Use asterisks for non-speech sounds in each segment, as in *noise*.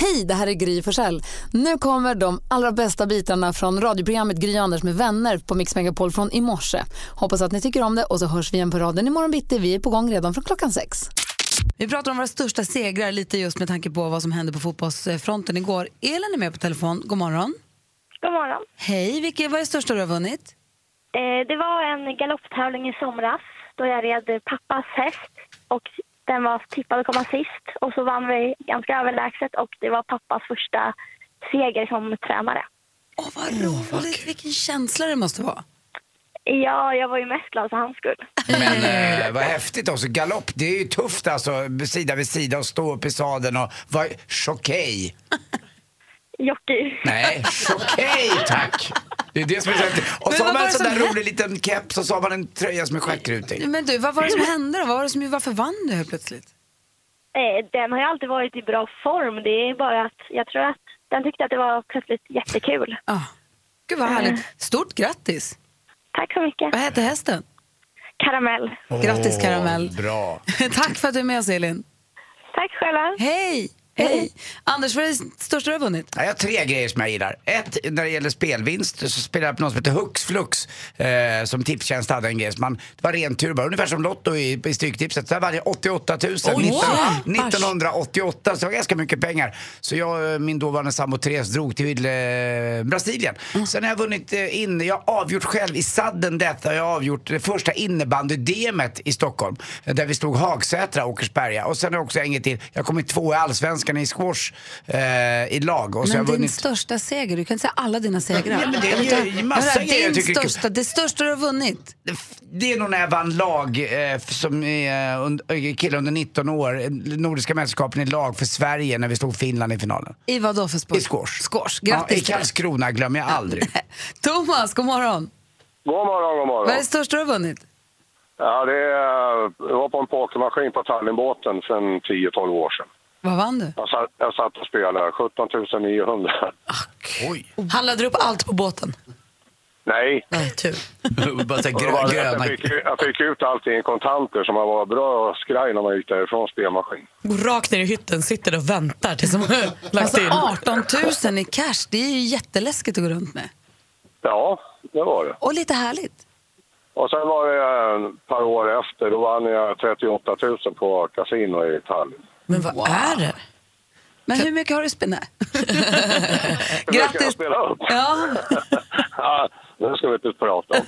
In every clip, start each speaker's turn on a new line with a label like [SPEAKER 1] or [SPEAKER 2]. [SPEAKER 1] Hej, det här är Gry Forssell. Nu kommer de allra bästa bitarna från radioprogrammet Gry Anders med vänner på Mix Megapol från i morse. Hoppas att ni tycker om det och så hörs vi igen på raden imorgon bitti. Vi är på gång redan från klockan sex.
[SPEAKER 2] Vi pratar om våra största segrar lite just med tanke på vad som hände på fotbollsfronten igår. Elin är med på telefon. God morgon.
[SPEAKER 3] God morgon.
[SPEAKER 2] Hej, vilket, vad är det största du har vunnit?
[SPEAKER 3] Eh, det var en galopptävling i somras då jag red pappas häst och den var tippad att komma sist och så vann vi ganska överlägset och det var pappas första seger som tränare.
[SPEAKER 2] Åh, vad roligt! Vilken känsla det måste vara.
[SPEAKER 3] Ja, jag var ju mest glad för hans skull.
[SPEAKER 4] Men eh, vad häftigt också. Galopp, det är ju tufft alltså. Sida vid sida och stå upp i sadeln och vara chockej.
[SPEAKER 3] Jockey.
[SPEAKER 4] Nej, *laughs* chockej tack. Det är det som är så häftigt. Och
[SPEAKER 2] Men
[SPEAKER 4] så
[SPEAKER 2] vad
[SPEAKER 4] har man
[SPEAKER 2] var
[SPEAKER 4] en
[SPEAKER 2] det
[SPEAKER 4] sån
[SPEAKER 2] som
[SPEAKER 4] där
[SPEAKER 2] hände?
[SPEAKER 4] rolig liten keps och så har man en tröja som är stjärtrutig.
[SPEAKER 2] Men du, vad var det som hände då? Vad var det som, varför vann du helt plötsligt?
[SPEAKER 3] Eh, den har ju alltid varit i bra form. Det är bara att jag tror att den tyckte att det var plötsligt jättekul.
[SPEAKER 2] Ah. Gud vad härligt. Stort grattis!
[SPEAKER 3] Tack så mycket.
[SPEAKER 2] Vad hette hästen?
[SPEAKER 3] Karamell.
[SPEAKER 2] Mm. Grattis Karamell.
[SPEAKER 4] Bra.
[SPEAKER 2] *laughs* Tack för att du är med oss Elin.
[SPEAKER 3] Tack själva.
[SPEAKER 2] Hej! Hej! Anders, vad är det största du har vunnit?
[SPEAKER 4] Ja, Jag har tre grejer som jag gillar. Ett, när det gäller spelvinst så spelade jag på något som heter Hux Flux. Eh, som Tipstjänst hade en grej som man, det var ren tur bara. Ungefär som Lotto i, i Stryktipset. Så där vann jag 88 000 19,
[SPEAKER 2] wow.
[SPEAKER 4] 1988. Så det var ganska mycket pengar. Så jag och min dåvarande sambo Therese drog till eh, Brasilien.
[SPEAKER 2] Mm.
[SPEAKER 4] Sen har jag vunnit eh, in, jag har avgjort själv i sadden detta. Jag har avgjort det första innebandy-DMet i Stockholm. eh, Där vi stod Hagsätra, Åkersberga. Och sen har jag också inget till. Jag kom i två i Allsvenskan i squash eh, i lag. Och så har jag
[SPEAKER 2] Men din
[SPEAKER 4] vunnit...
[SPEAKER 2] största seger, du kan inte säga alla dina segrar.
[SPEAKER 4] Ja, men det är ju
[SPEAKER 2] Utan-
[SPEAKER 4] massa
[SPEAKER 2] Hörru,
[SPEAKER 4] grejer jag
[SPEAKER 2] din
[SPEAKER 4] tycker är kul.
[SPEAKER 2] största, Det största du har vunnit.
[SPEAKER 4] Det är nog när jag vann lag eh, f- som är under, kille under 19 år, eh, Nordiska mästerskapen i lag för Sverige när vi slog Finland i finalen.
[SPEAKER 2] I vad då för sport?
[SPEAKER 4] I squash.
[SPEAKER 2] Squash.
[SPEAKER 4] Ja, I
[SPEAKER 2] Grattis till dig.
[SPEAKER 4] Karlskrona glömmer jag aldrig.
[SPEAKER 2] *laughs* Thomas, god morgon.
[SPEAKER 5] God morgon, god
[SPEAKER 2] Vad är
[SPEAKER 5] morgon.
[SPEAKER 2] det största du har vunnit?
[SPEAKER 5] Ja, det är, jag var på en pokermaskin på Tallinnbåten sedan 10-12 år sedan.
[SPEAKER 2] Vad vann du?
[SPEAKER 5] Jag satt, jag satt och spelade 17 900.
[SPEAKER 4] Oj.
[SPEAKER 6] Handlade du upp allt på båten?
[SPEAKER 5] *laughs* Nej,
[SPEAKER 6] Nej, tur.
[SPEAKER 4] Bara så här
[SPEAKER 5] och det
[SPEAKER 4] grö-
[SPEAKER 5] var det att
[SPEAKER 4] gröna.
[SPEAKER 5] jag, fick, jag fick ut allting i kontanter så man var bra skraj när man gick därifrån spelmaskin.
[SPEAKER 6] Gå rakt ner i hytten, sitter och väntar tills de har lagt
[SPEAKER 2] Alltså
[SPEAKER 6] till.
[SPEAKER 2] 18 000 i cash, det är ju jätteläskigt att gå runt med.
[SPEAKER 5] Ja, det var det.
[SPEAKER 2] Och lite härligt.
[SPEAKER 5] Och sen var det eh, ett par år efter, då vann jag 38 000 på kasino i Tallinn.
[SPEAKER 6] Men vad är det?
[SPEAKER 2] Men hur mycket har du spelat?
[SPEAKER 6] *laughs*
[SPEAKER 5] Försöker jag
[SPEAKER 2] Grattis!
[SPEAKER 5] spela upp?
[SPEAKER 2] Ja,
[SPEAKER 5] *laughs* Ja, nu ska vi inte prata om.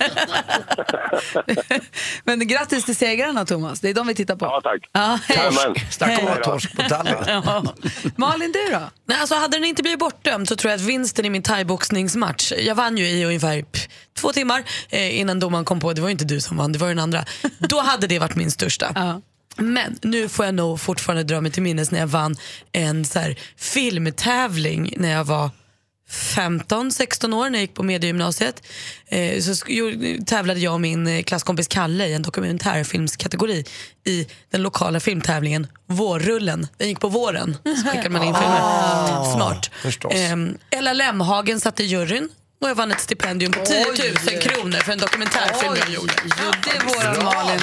[SPEAKER 2] *laughs* men grattis till segrarna Thomas, det är de vi tittar på.
[SPEAKER 5] Ja, tack.
[SPEAKER 2] Ja, hej.
[SPEAKER 5] Jajamän.
[SPEAKER 4] Snacka om att
[SPEAKER 5] Hej
[SPEAKER 4] ha
[SPEAKER 5] då.
[SPEAKER 4] torsk på Tallinn.
[SPEAKER 2] *laughs* Ja. Malin, du då?
[SPEAKER 6] Nej, alltså hade den inte blivit bortdömd så tror jag att vinsten i min thaiboxningsmatch, jag vann ju i ungefär pff, två timmar eh, innan domaren kom på, det var ju inte du som vann, det var ju den andra. Då hade det varit min största.
[SPEAKER 2] Ja.
[SPEAKER 6] Men nu får jag nog fortfarande dra mig till minnes när jag vann en så här filmtävling när jag var 15-16 år när jag gick på mediegymnasiet. Eh, så sk- jo, tävlade jag och min eh, klasskompis Kalle i en dokumentärfilmskategori i den lokala filmtävlingen Vårrullen. Den gick på våren, så skickade man in filmer. Smart.
[SPEAKER 4] förstås.
[SPEAKER 6] Ehm, Ella Lemhagen satt i juryn och jag vann ett stipendium på 10 000 kronor för en dokumentärfilm jag gjorde.
[SPEAKER 2] Jo, det är våran Malin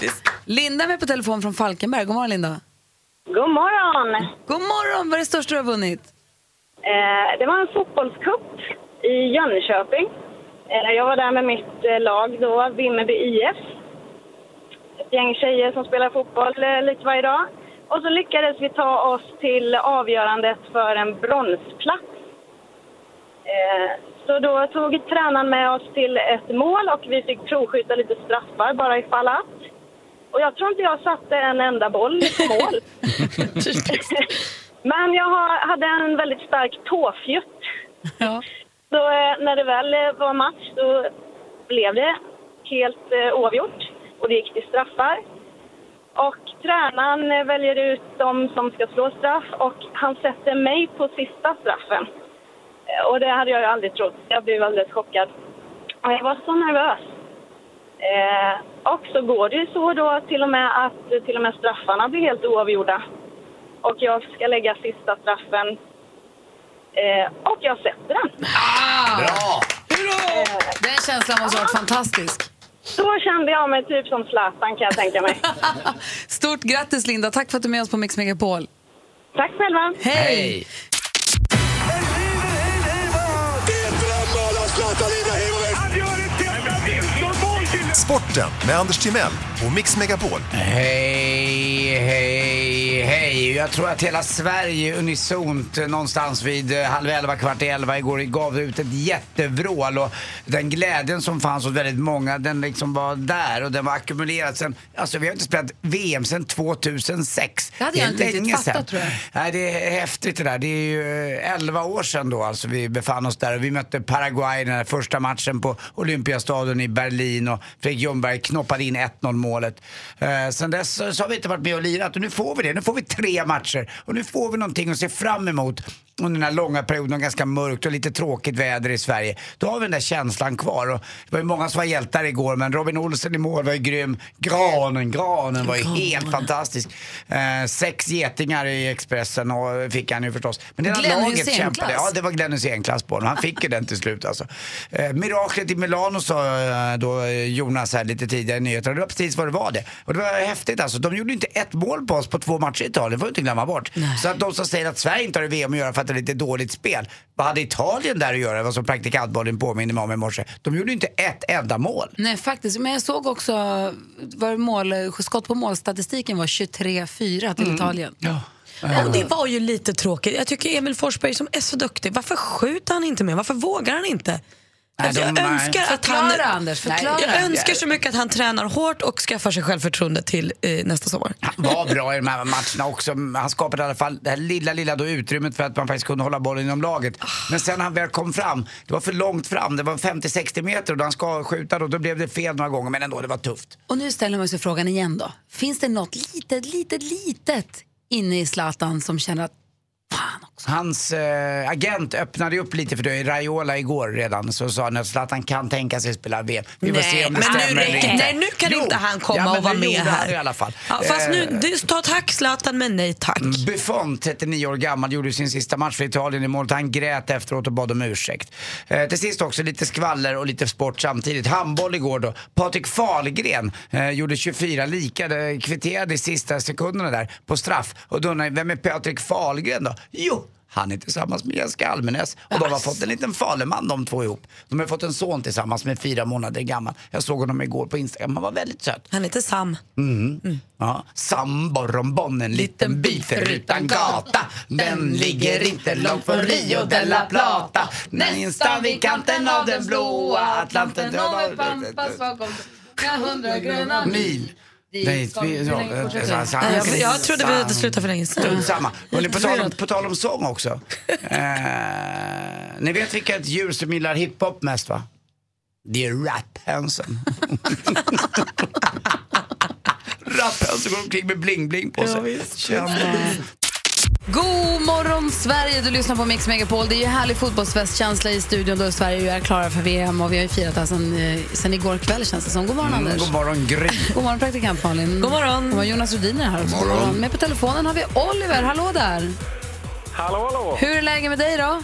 [SPEAKER 2] det. Linda är med på telefon från Falkenberg. God morgon Linda.
[SPEAKER 3] God morgon.
[SPEAKER 2] God morgon, vad är det största du har vunnit?
[SPEAKER 3] Eh, Det var en fotbollscup i Jönköping. Eh, Jag var där med mitt eh, lag då, Vimmerby IF. Ett gäng tjejer som spelar fotboll eh, lite varje dag. Och så lyckades vi ta oss till avgörandet för en bronsplats. Eh, Så då tog tränaren med oss till ett mål och vi fick provskjuta lite straffar bara ifall att. Och jag tror inte jag satte en enda boll på mål. Men jag har- hade en väldigt stark tåfjutt.
[SPEAKER 2] Ja.
[SPEAKER 3] Så eh, när det väl eh, var match så blev det helt eh, oavgjort och det gick till straffar. Och tränaren eh, väljer ut de som ska slå straff och han sätter mig på sista straffen. Eh, Och det hade jag ju aldrig trott. Jag blev alldeles chockad. Och jag var så nervös. Eh,
[SPEAKER 7] Och så går det ju så då till och med att eh, till och med straffarna blir helt oavgjorda. Och jag ska lägga sista straffen. Eh, och jag sätter den.
[SPEAKER 4] Bra!
[SPEAKER 2] Den känslan måste ha varit fantastisk.
[SPEAKER 7] Då kände jag mig typ som Zlatan kan jag
[SPEAKER 3] *laughs*
[SPEAKER 7] tänka mig.
[SPEAKER 2] Stort grattis Linda, tack för att du är med oss på Mix Megapol.
[SPEAKER 7] Tack själva!
[SPEAKER 4] Hej!
[SPEAKER 8] Sporten med Anders Timell och Mix Megapol.
[SPEAKER 4] Hej, hej, hej. Jag tror att hela Sverige unisont eh, någonstans vid eh, halv elva, kvart i elva igår gav ut ett jättevrål och den glädjen som fanns hos väldigt många den liksom var där och den var ackumulerad sen, alltså vi har inte spelat VM sedan 2006.
[SPEAKER 2] Det hade jag
[SPEAKER 4] är
[SPEAKER 2] inte riktigt
[SPEAKER 4] länge
[SPEAKER 2] fattat,
[SPEAKER 4] sedan.
[SPEAKER 2] tror jag.
[SPEAKER 4] Nej, det är häftigt det där. Det är ju eh, 11 år sedan då alltså vi befann oss där och vi mötte Paraguay i den här första matchen på Olympiastadion i Berlin och Fredrik Ljungberg knoppade in 1-0 målet. Eh, sen dess så, så har vi inte varit med och lirat och nu får vi det. Nu får vi tre matcher och nu får vi någonting att se fram emot under den här långa perioden, ganska mörkt och lite tråkigt väder i Sverige. Då har vi den där känslan kvar. Och det var ju många som var hjältar igår men Robin Olsen i mål var ju grym. Granen, granen var ju helt fantastisk. Eh, sex getingar i Expressen och fick han ju förstås. Men det
[SPEAKER 2] Glenn
[SPEAKER 4] hela laget
[SPEAKER 2] Hysén-klass.
[SPEAKER 4] kämpade. Ja, det var Glenn Hysén-klass på honom. Han fick ju den till slut alltså. Eh, miraklet i Milano sa eh, då eh, Jonas här lite tidigare i nyheterna. Det var precis vad det var det. Och det var häftigt alltså. De gjorde ju inte ett mål på oss på två matcher i Italien. Det får vi inte glömma bort. Så att de som säger att Sverige inte har i VM att göra för att det är lite dåligt spel. Vad hade Italien där att göra? Det var som praktikantbollen påminner mig om i morse. De gjorde ju inte ett enda mål.
[SPEAKER 2] Nej faktiskt, men jag såg också var mål, skott på målstatistiken var 23-4 till Italien.
[SPEAKER 6] Och det var ju lite tråkigt. Jag tycker Emil Forsberg som är så duktig, varför skjuter han inte mer? Varför vågar han inte? Alltså, jag
[SPEAKER 4] de-
[SPEAKER 6] önskar att han...
[SPEAKER 2] Förklara, Anders, förklara.
[SPEAKER 6] Jag önskar så mycket att han tränar hårt och skaffar sig självförtroende till eh, nästa sommar.
[SPEAKER 4] Han var bra i de här matcherna också. Han skapade i alla fall det här lilla, lilla då utrymmet för att man faktiskt kunde hålla bollen inom laget. Men sen när han väl kom fram, det var för långt fram. Det var 50-60 meter och då han ska skjuta då, då blev det fel några gånger. Men ändå, det var tufft.
[SPEAKER 2] Och nu ställer man sig frågan igen då. Finns det något litet, litet, litet inne i Zlatan som känner att fan också.
[SPEAKER 4] Hans eh, agent öppnade ju upp lite för det. Raiola igår redan så sa han att Zlatan kan tänka sig spela VM. Vi får
[SPEAKER 6] Nej,
[SPEAKER 4] se om det
[SPEAKER 6] men nu
[SPEAKER 4] stämmer eller
[SPEAKER 6] räcker-
[SPEAKER 4] inte.
[SPEAKER 6] nej, nu kan inte han komma
[SPEAKER 4] ja, men
[SPEAKER 6] och vara
[SPEAKER 4] det
[SPEAKER 6] med
[SPEAKER 4] gjorde
[SPEAKER 6] här.
[SPEAKER 4] Han i alla fall.
[SPEAKER 6] Ja, fast
[SPEAKER 4] Eh, Mm.
[SPEAKER 6] nu, du, ta tack Zlatan, men nej tack.
[SPEAKER 4] Buffon, 39 år gammal, gjorde sin sista match för Italien i målet. Han grät efteråt och bad om ursäkt. Eh, till sist också lite skvaller och lite sport samtidigt. Handboll igår då. Patrik Fahlgren eh, gjorde 24 lika, det kvitterade i sista sekunderna där på straff. Och då undrar jag, vem är Patrik Fahlgren då? Jo! Han är tillsammans med Jessica Almenäs och de har fått en liten Faleman de två ihop. De har fått en son tillsammans som är fyra månader gammal. Jag såg honom igår på Instagram, han var väldigt söt.
[SPEAKER 6] Han heter Sam.
[SPEAKER 4] Ja. Samborrombon, en liten by förutan gata Den ligger inte långt från Rio de la Plata Nästan vid kanten av den blåa Atlanten Mil Nej, vi- ja, eh, alltså, han-
[SPEAKER 6] Jag, jag trodde vi hade slutat för länge sedan.
[SPEAKER 4] Strunt samma. Och ni, på, tal om, på tal om sång
[SPEAKER 6] *laughs*
[SPEAKER 4] också. Eh, ni vet vilket djur som gillar hiphop mest va? Det är
[SPEAKER 6] *laughs*
[SPEAKER 4] rapphönsen. rapphönsen går omkring med bling-bling på sig. Tjena.
[SPEAKER 2] God morgon Sverige, du lyssnar på Mix Megapol. Det är ju härlig fotbollsfestkänsla i studion då Sverige ju är klara för VM och vi har ju firat det här sen, eh, sen igår kväll känns det som. God morgon Anders.
[SPEAKER 4] Mm, God morgon Gry.
[SPEAKER 2] God morgon praktikant Malin.
[SPEAKER 6] God morgon.
[SPEAKER 2] God morgon Jonas Rhodin är här också. God morgon. Med på telefonen har vi Oliver. Hallå där.
[SPEAKER 5] Hallå, hallå!
[SPEAKER 2] Hur är läget med dig då?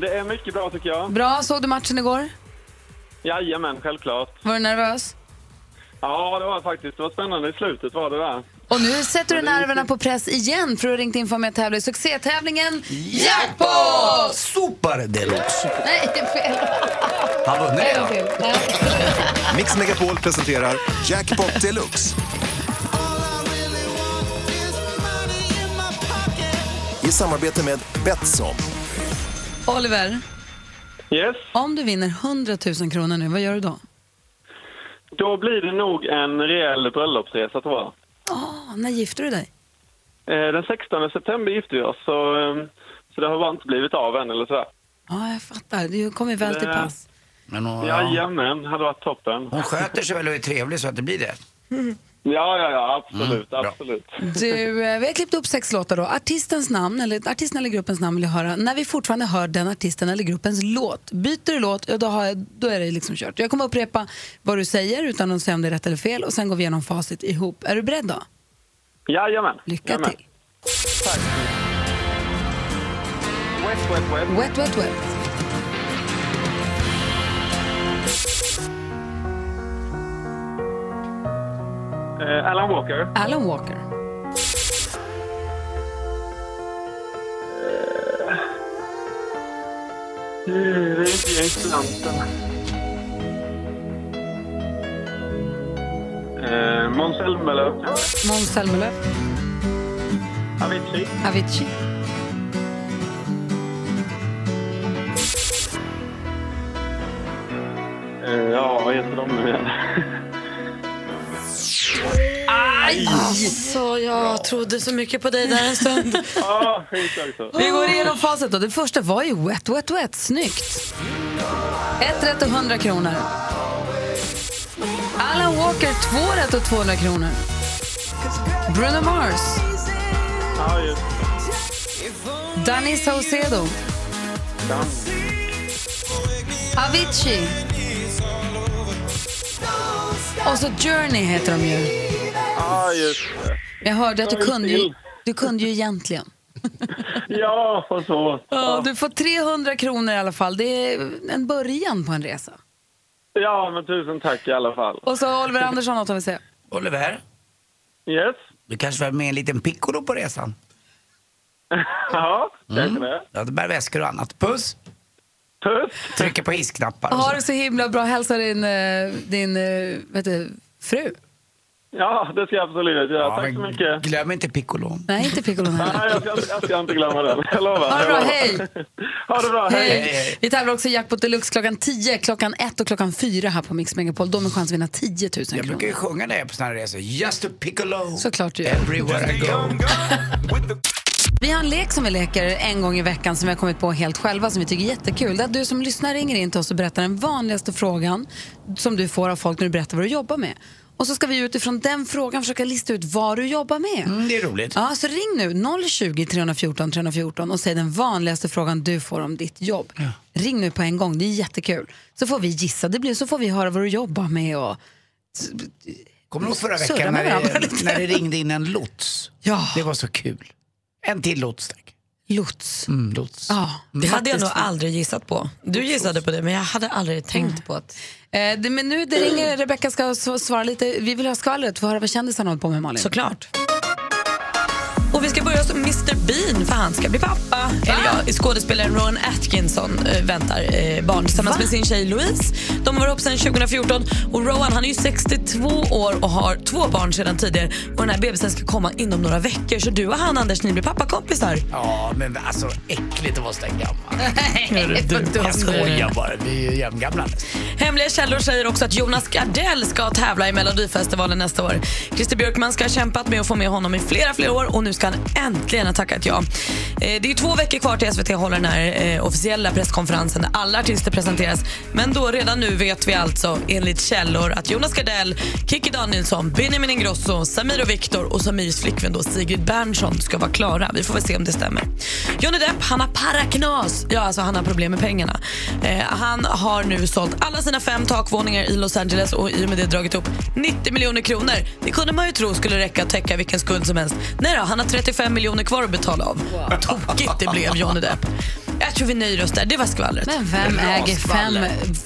[SPEAKER 5] Det är mycket bra tycker jag.
[SPEAKER 2] Bra, såg du matchen igår?
[SPEAKER 5] Jajamän, självklart.
[SPEAKER 2] Var du nervös?
[SPEAKER 5] Ja, det var faktiskt. Det var spännande i slutet var det där.
[SPEAKER 2] Och nu sätter du nerverna på press igen för du har ringt in för att med tävla i succétävlingen
[SPEAKER 4] Jackpot! Super deluxe.
[SPEAKER 2] Nej, det är fel.
[SPEAKER 4] Han var
[SPEAKER 2] En
[SPEAKER 4] nöjd.
[SPEAKER 2] till. Nej.
[SPEAKER 8] Mix Megapol presenterar Jackpot Deluxe. I samarbete med Betsson.
[SPEAKER 2] Oliver,
[SPEAKER 5] Yes,
[SPEAKER 2] om du vinner 100 000 kronor nu, vad gör du då?
[SPEAKER 5] då blir det nog en rejäl bröllopsresa tror jag.
[SPEAKER 2] Åh, när gifter du dig?
[SPEAKER 5] Eh, Den 16 september gifte vi oss, så, eh, så det har bara inte blivit av än eller sådär.
[SPEAKER 2] Ja, jag fattar. Du kommer väl till
[SPEAKER 5] Nej.
[SPEAKER 2] pass.
[SPEAKER 4] Men hon,
[SPEAKER 5] Jajamän, hade varit toppen.
[SPEAKER 4] hon sköter sig väl och är trevlig så att det blir det.
[SPEAKER 9] Ja, ja, ja, absolut, absolut.
[SPEAKER 2] Du, eh, vi har klippt upp sex låtar då. Artistens namn, eller artisten eller gruppens namn vill jag höra. När vi fortfarande hör den artisten eller gruppens låt. Byter du låt, ja, då, har jag, då är det liksom kört. Jag kommer upprepa vad du säger utan att säga om det är rätt eller fel och sen går vi igenom facit ihop. Är du beredd då?
[SPEAKER 9] Jajamän.
[SPEAKER 2] Lycka till.
[SPEAKER 9] Wet, wet, wet.
[SPEAKER 2] Wet, wet, wet.
[SPEAKER 9] Eh, Alan Walker.
[SPEAKER 2] Alan Walker.
[SPEAKER 9] Eh, Det är inte James Blunt. Eh, Måns Zelmerlöw.
[SPEAKER 2] Måns Zelmerlöw.
[SPEAKER 9] Avicii.
[SPEAKER 2] Avicii.
[SPEAKER 9] Eh, Ja, vad heter de nu igen?
[SPEAKER 6] Aj! Alltså, jag trodde så mycket på dig där en stund.
[SPEAKER 9] *laughs* Ja, skit också.
[SPEAKER 2] Vi går igenom facit då. Det första var ju Wet Wet Wet. Snyggt! Ett rätt och 100 kronor. Alan Walker, två rätt och 200 kronor. Bruno Mars,
[SPEAKER 9] Ja, just
[SPEAKER 2] Danny Saucedo, Avicii. Och så Journey heter de ju.
[SPEAKER 9] Ja, just det.
[SPEAKER 2] Jag hörde att du kunde ju, du kunde ju egentligen.
[SPEAKER 9] Ja, och så.
[SPEAKER 2] Ja, du får 300 kronor i alla fall. Det är en början på en resa.
[SPEAKER 9] Ja, men tusen tack i alla fall.
[SPEAKER 2] Och så Oliver Andersson, något att vi säga.
[SPEAKER 4] Oliver,
[SPEAKER 9] Yes.
[SPEAKER 4] du kanske var med en liten piccolo på resan?
[SPEAKER 9] Ja, kanske det.
[SPEAKER 4] Ja, du bär väskor och annat. Puss!
[SPEAKER 9] Puss!
[SPEAKER 4] Trycker på hissknappar och
[SPEAKER 2] Ha
[SPEAKER 4] så.
[SPEAKER 2] det så himla bra. Hälsa din, eh, din eh, vad heter, det, fru.
[SPEAKER 9] Ja, det ska jag absolut göra.
[SPEAKER 4] Ja,
[SPEAKER 9] tack
[SPEAKER 4] men
[SPEAKER 9] så mycket.
[SPEAKER 4] Glöm inte piccolon.
[SPEAKER 2] Nej, inte Piccolo.
[SPEAKER 9] Nej, jag ska, jag ska inte glömma den. Jag lovar.
[SPEAKER 2] Ha det bra,
[SPEAKER 9] Jag lovar.
[SPEAKER 2] hej.
[SPEAKER 9] *laughs* Ha det bra, hej!
[SPEAKER 4] hej,
[SPEAKER 2] Hej.
[SPEAKER 4] hej.
[SPEAKER 2] Vi tävlar också i Jackpot Deluxe klockan 10, klockan 1 och klockan 4 här på Mix Megapol. Då med chans att vinna 10 000
[SPEAKER 4] Jag brukar ju
[SPEAKER 2] kronor.
[SPEAKER 4] sjunga när jag är på såna här resor. Just a piccolo.
[SPEAKER 2] Såklart du gör.
[SPEAKER 4] Everywhere I go.
[SPEAKER 2] Vi har en lek som vi leker en gång i veckan som vi har kommit på helt själva som vi tycker är jättekul. Det är att du som lyssnar ringer in till oss och berättar den vanligaste frågan som du får av folk när du berättar vad du jobbar med. Och så ska vi utifrån den frågan försöka lista ut vad du jobbar med.
[SPEAKER 4] Mm, det är roligt.
[SPEAKER 2] Ja, så ring nu 020 314 314 och säg den vanligaste frågan du får om ditt jobb. Ring nu på en gång, det är jättekul. Så får vi gissa, det blir, så får vi höra vad du jobbar med och...
[SPEAKER 4] Kommer du ihåg förra
[SPEAKER 2] Surra
[SPEAKER 4] veckan
[SPEAKER 2] med
[SPEAKER 4] när
[SPEAKER 2] varandra
[SPEAKER 4] det,
[SPEAKER 2] lite.
[SPEAKER 4] när det ringde in en lots?
[SPEAKER 2] Ja,
[SPEAKER 4] Det var så kul. En till lots tack.
[SPEAKER 2] lots.
[SPEAKER 4] Mm, lots.
[SPEAKER 2] Ja.
[SPEAKER 6] Det hade jag nog aldrig gissat på. Du gissade på det, men jag hade aldrig tänkt på att...
[SPEAKER 2] Mm. Eh, det, men nu det ringer Rebecka ska s- svara lite. Vi vill ha skvallret, få höra vad kändisarna håller på med Malin.
[SPEAKER 6] Såklart. Och vi ska börja som Mr Bean, för han ska bli pappa. Eller ja, skådespelaren Rowan Atkinson eh, väntar eh, barn tillsammans med sin tjej Louise. De har varit ihop sedan 2014 och Rowan han är ju 62 år och har två barn sedan tidigare. Och den här bebisen ska komma inom några veckor. Så du och han Anders, ni blir pappakompisar.
[SPEAKER 4] Ja, men alltså äckligt att vara så där
[SPEAKER 2] *laughs*
[SPEAKER 4] gammal.
[SPEAKER 2] Du,
[SPEAKER 4] Jag skojar bara, vi är ju jämngamla.
[SPEAKER 6] Hemliga källor säger också att Jonas Gardell ska tävla i Melodifestivalen nästa år. Christer Björkman ska ha kämpat med att få med honom i flera, flera år och nu ska han äntligen ha tackat ja. Eh, Det är ju två veckor kvar till SVT håller den här eh, officiella presskonferensen där alla artister presenteras. Men då redan nu vet vi alltså enligt källor att Jonas Gardell, Kikki Danielsson, Benjamin Ingrosso, Samir och Viktor och Samirs flickvän då Sigrid Bernson ska vara klara. Vi får väl se om det stämmer. Johnny Depp, han har paraknas. Ja, alltså han har problem med pengarna. Eh, han har nu sålt alla sina fem takvåningar i Los Angeles och i och med det dragit upp 90 miljoner kronor. Det kunde man ju tro skulle räcka att täcka vilken skuld som helst. Nej då, han har 35 miljoner kvar att betala av. Tokigt det blev Johnny Depp. Jag tror vi nöjer oss där. Det var skvallret.
[SPEAKER 2] Men vem äger fem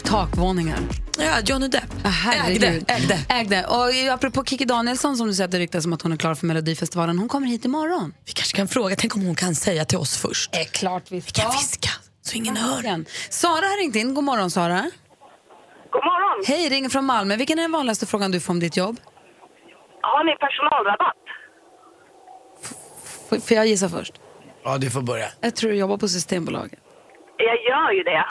[SPEAKER 2] takvåningar?
[SPEAKER 6] Ja, Johnny Depp.
[SPEAKER 2] Ah, herregud.
[SPEAKER 6] Ägde, ägde.
[SPEAKER 2] Ägde. Och ju apropå Kikki Danielsson som du säger att det ryktas om att hon är klar för Melodifestivalen. Hon kommer hit imorgon.
[SPEAKER 6] Vi kanske kan fråga. Tänk om hon kan säga till oss först.
[SPEAKER 2] är klart vi ska.
[SPEAKER 6] Kan viska så ingen hör.
[SPEAKER 2] Igen. Sara har ringt in. God morgon Sara.
[SPEAKER 7] God morgon!
[SPEAKER 2] Hej, ringer från Malmö. Vilken är den vanligaste frågan du får om ditt jobb?
[SPEAKER 7] Har ni personalrabatt?
[SPEAKER 2] F- Får jag gissa först?
[SPEAKER 4] Ja, du får börja.
[SPEAKER 2] Jag tror du jobbar på Systembolaget.
[SPEAKER 7] Jag gör ju det.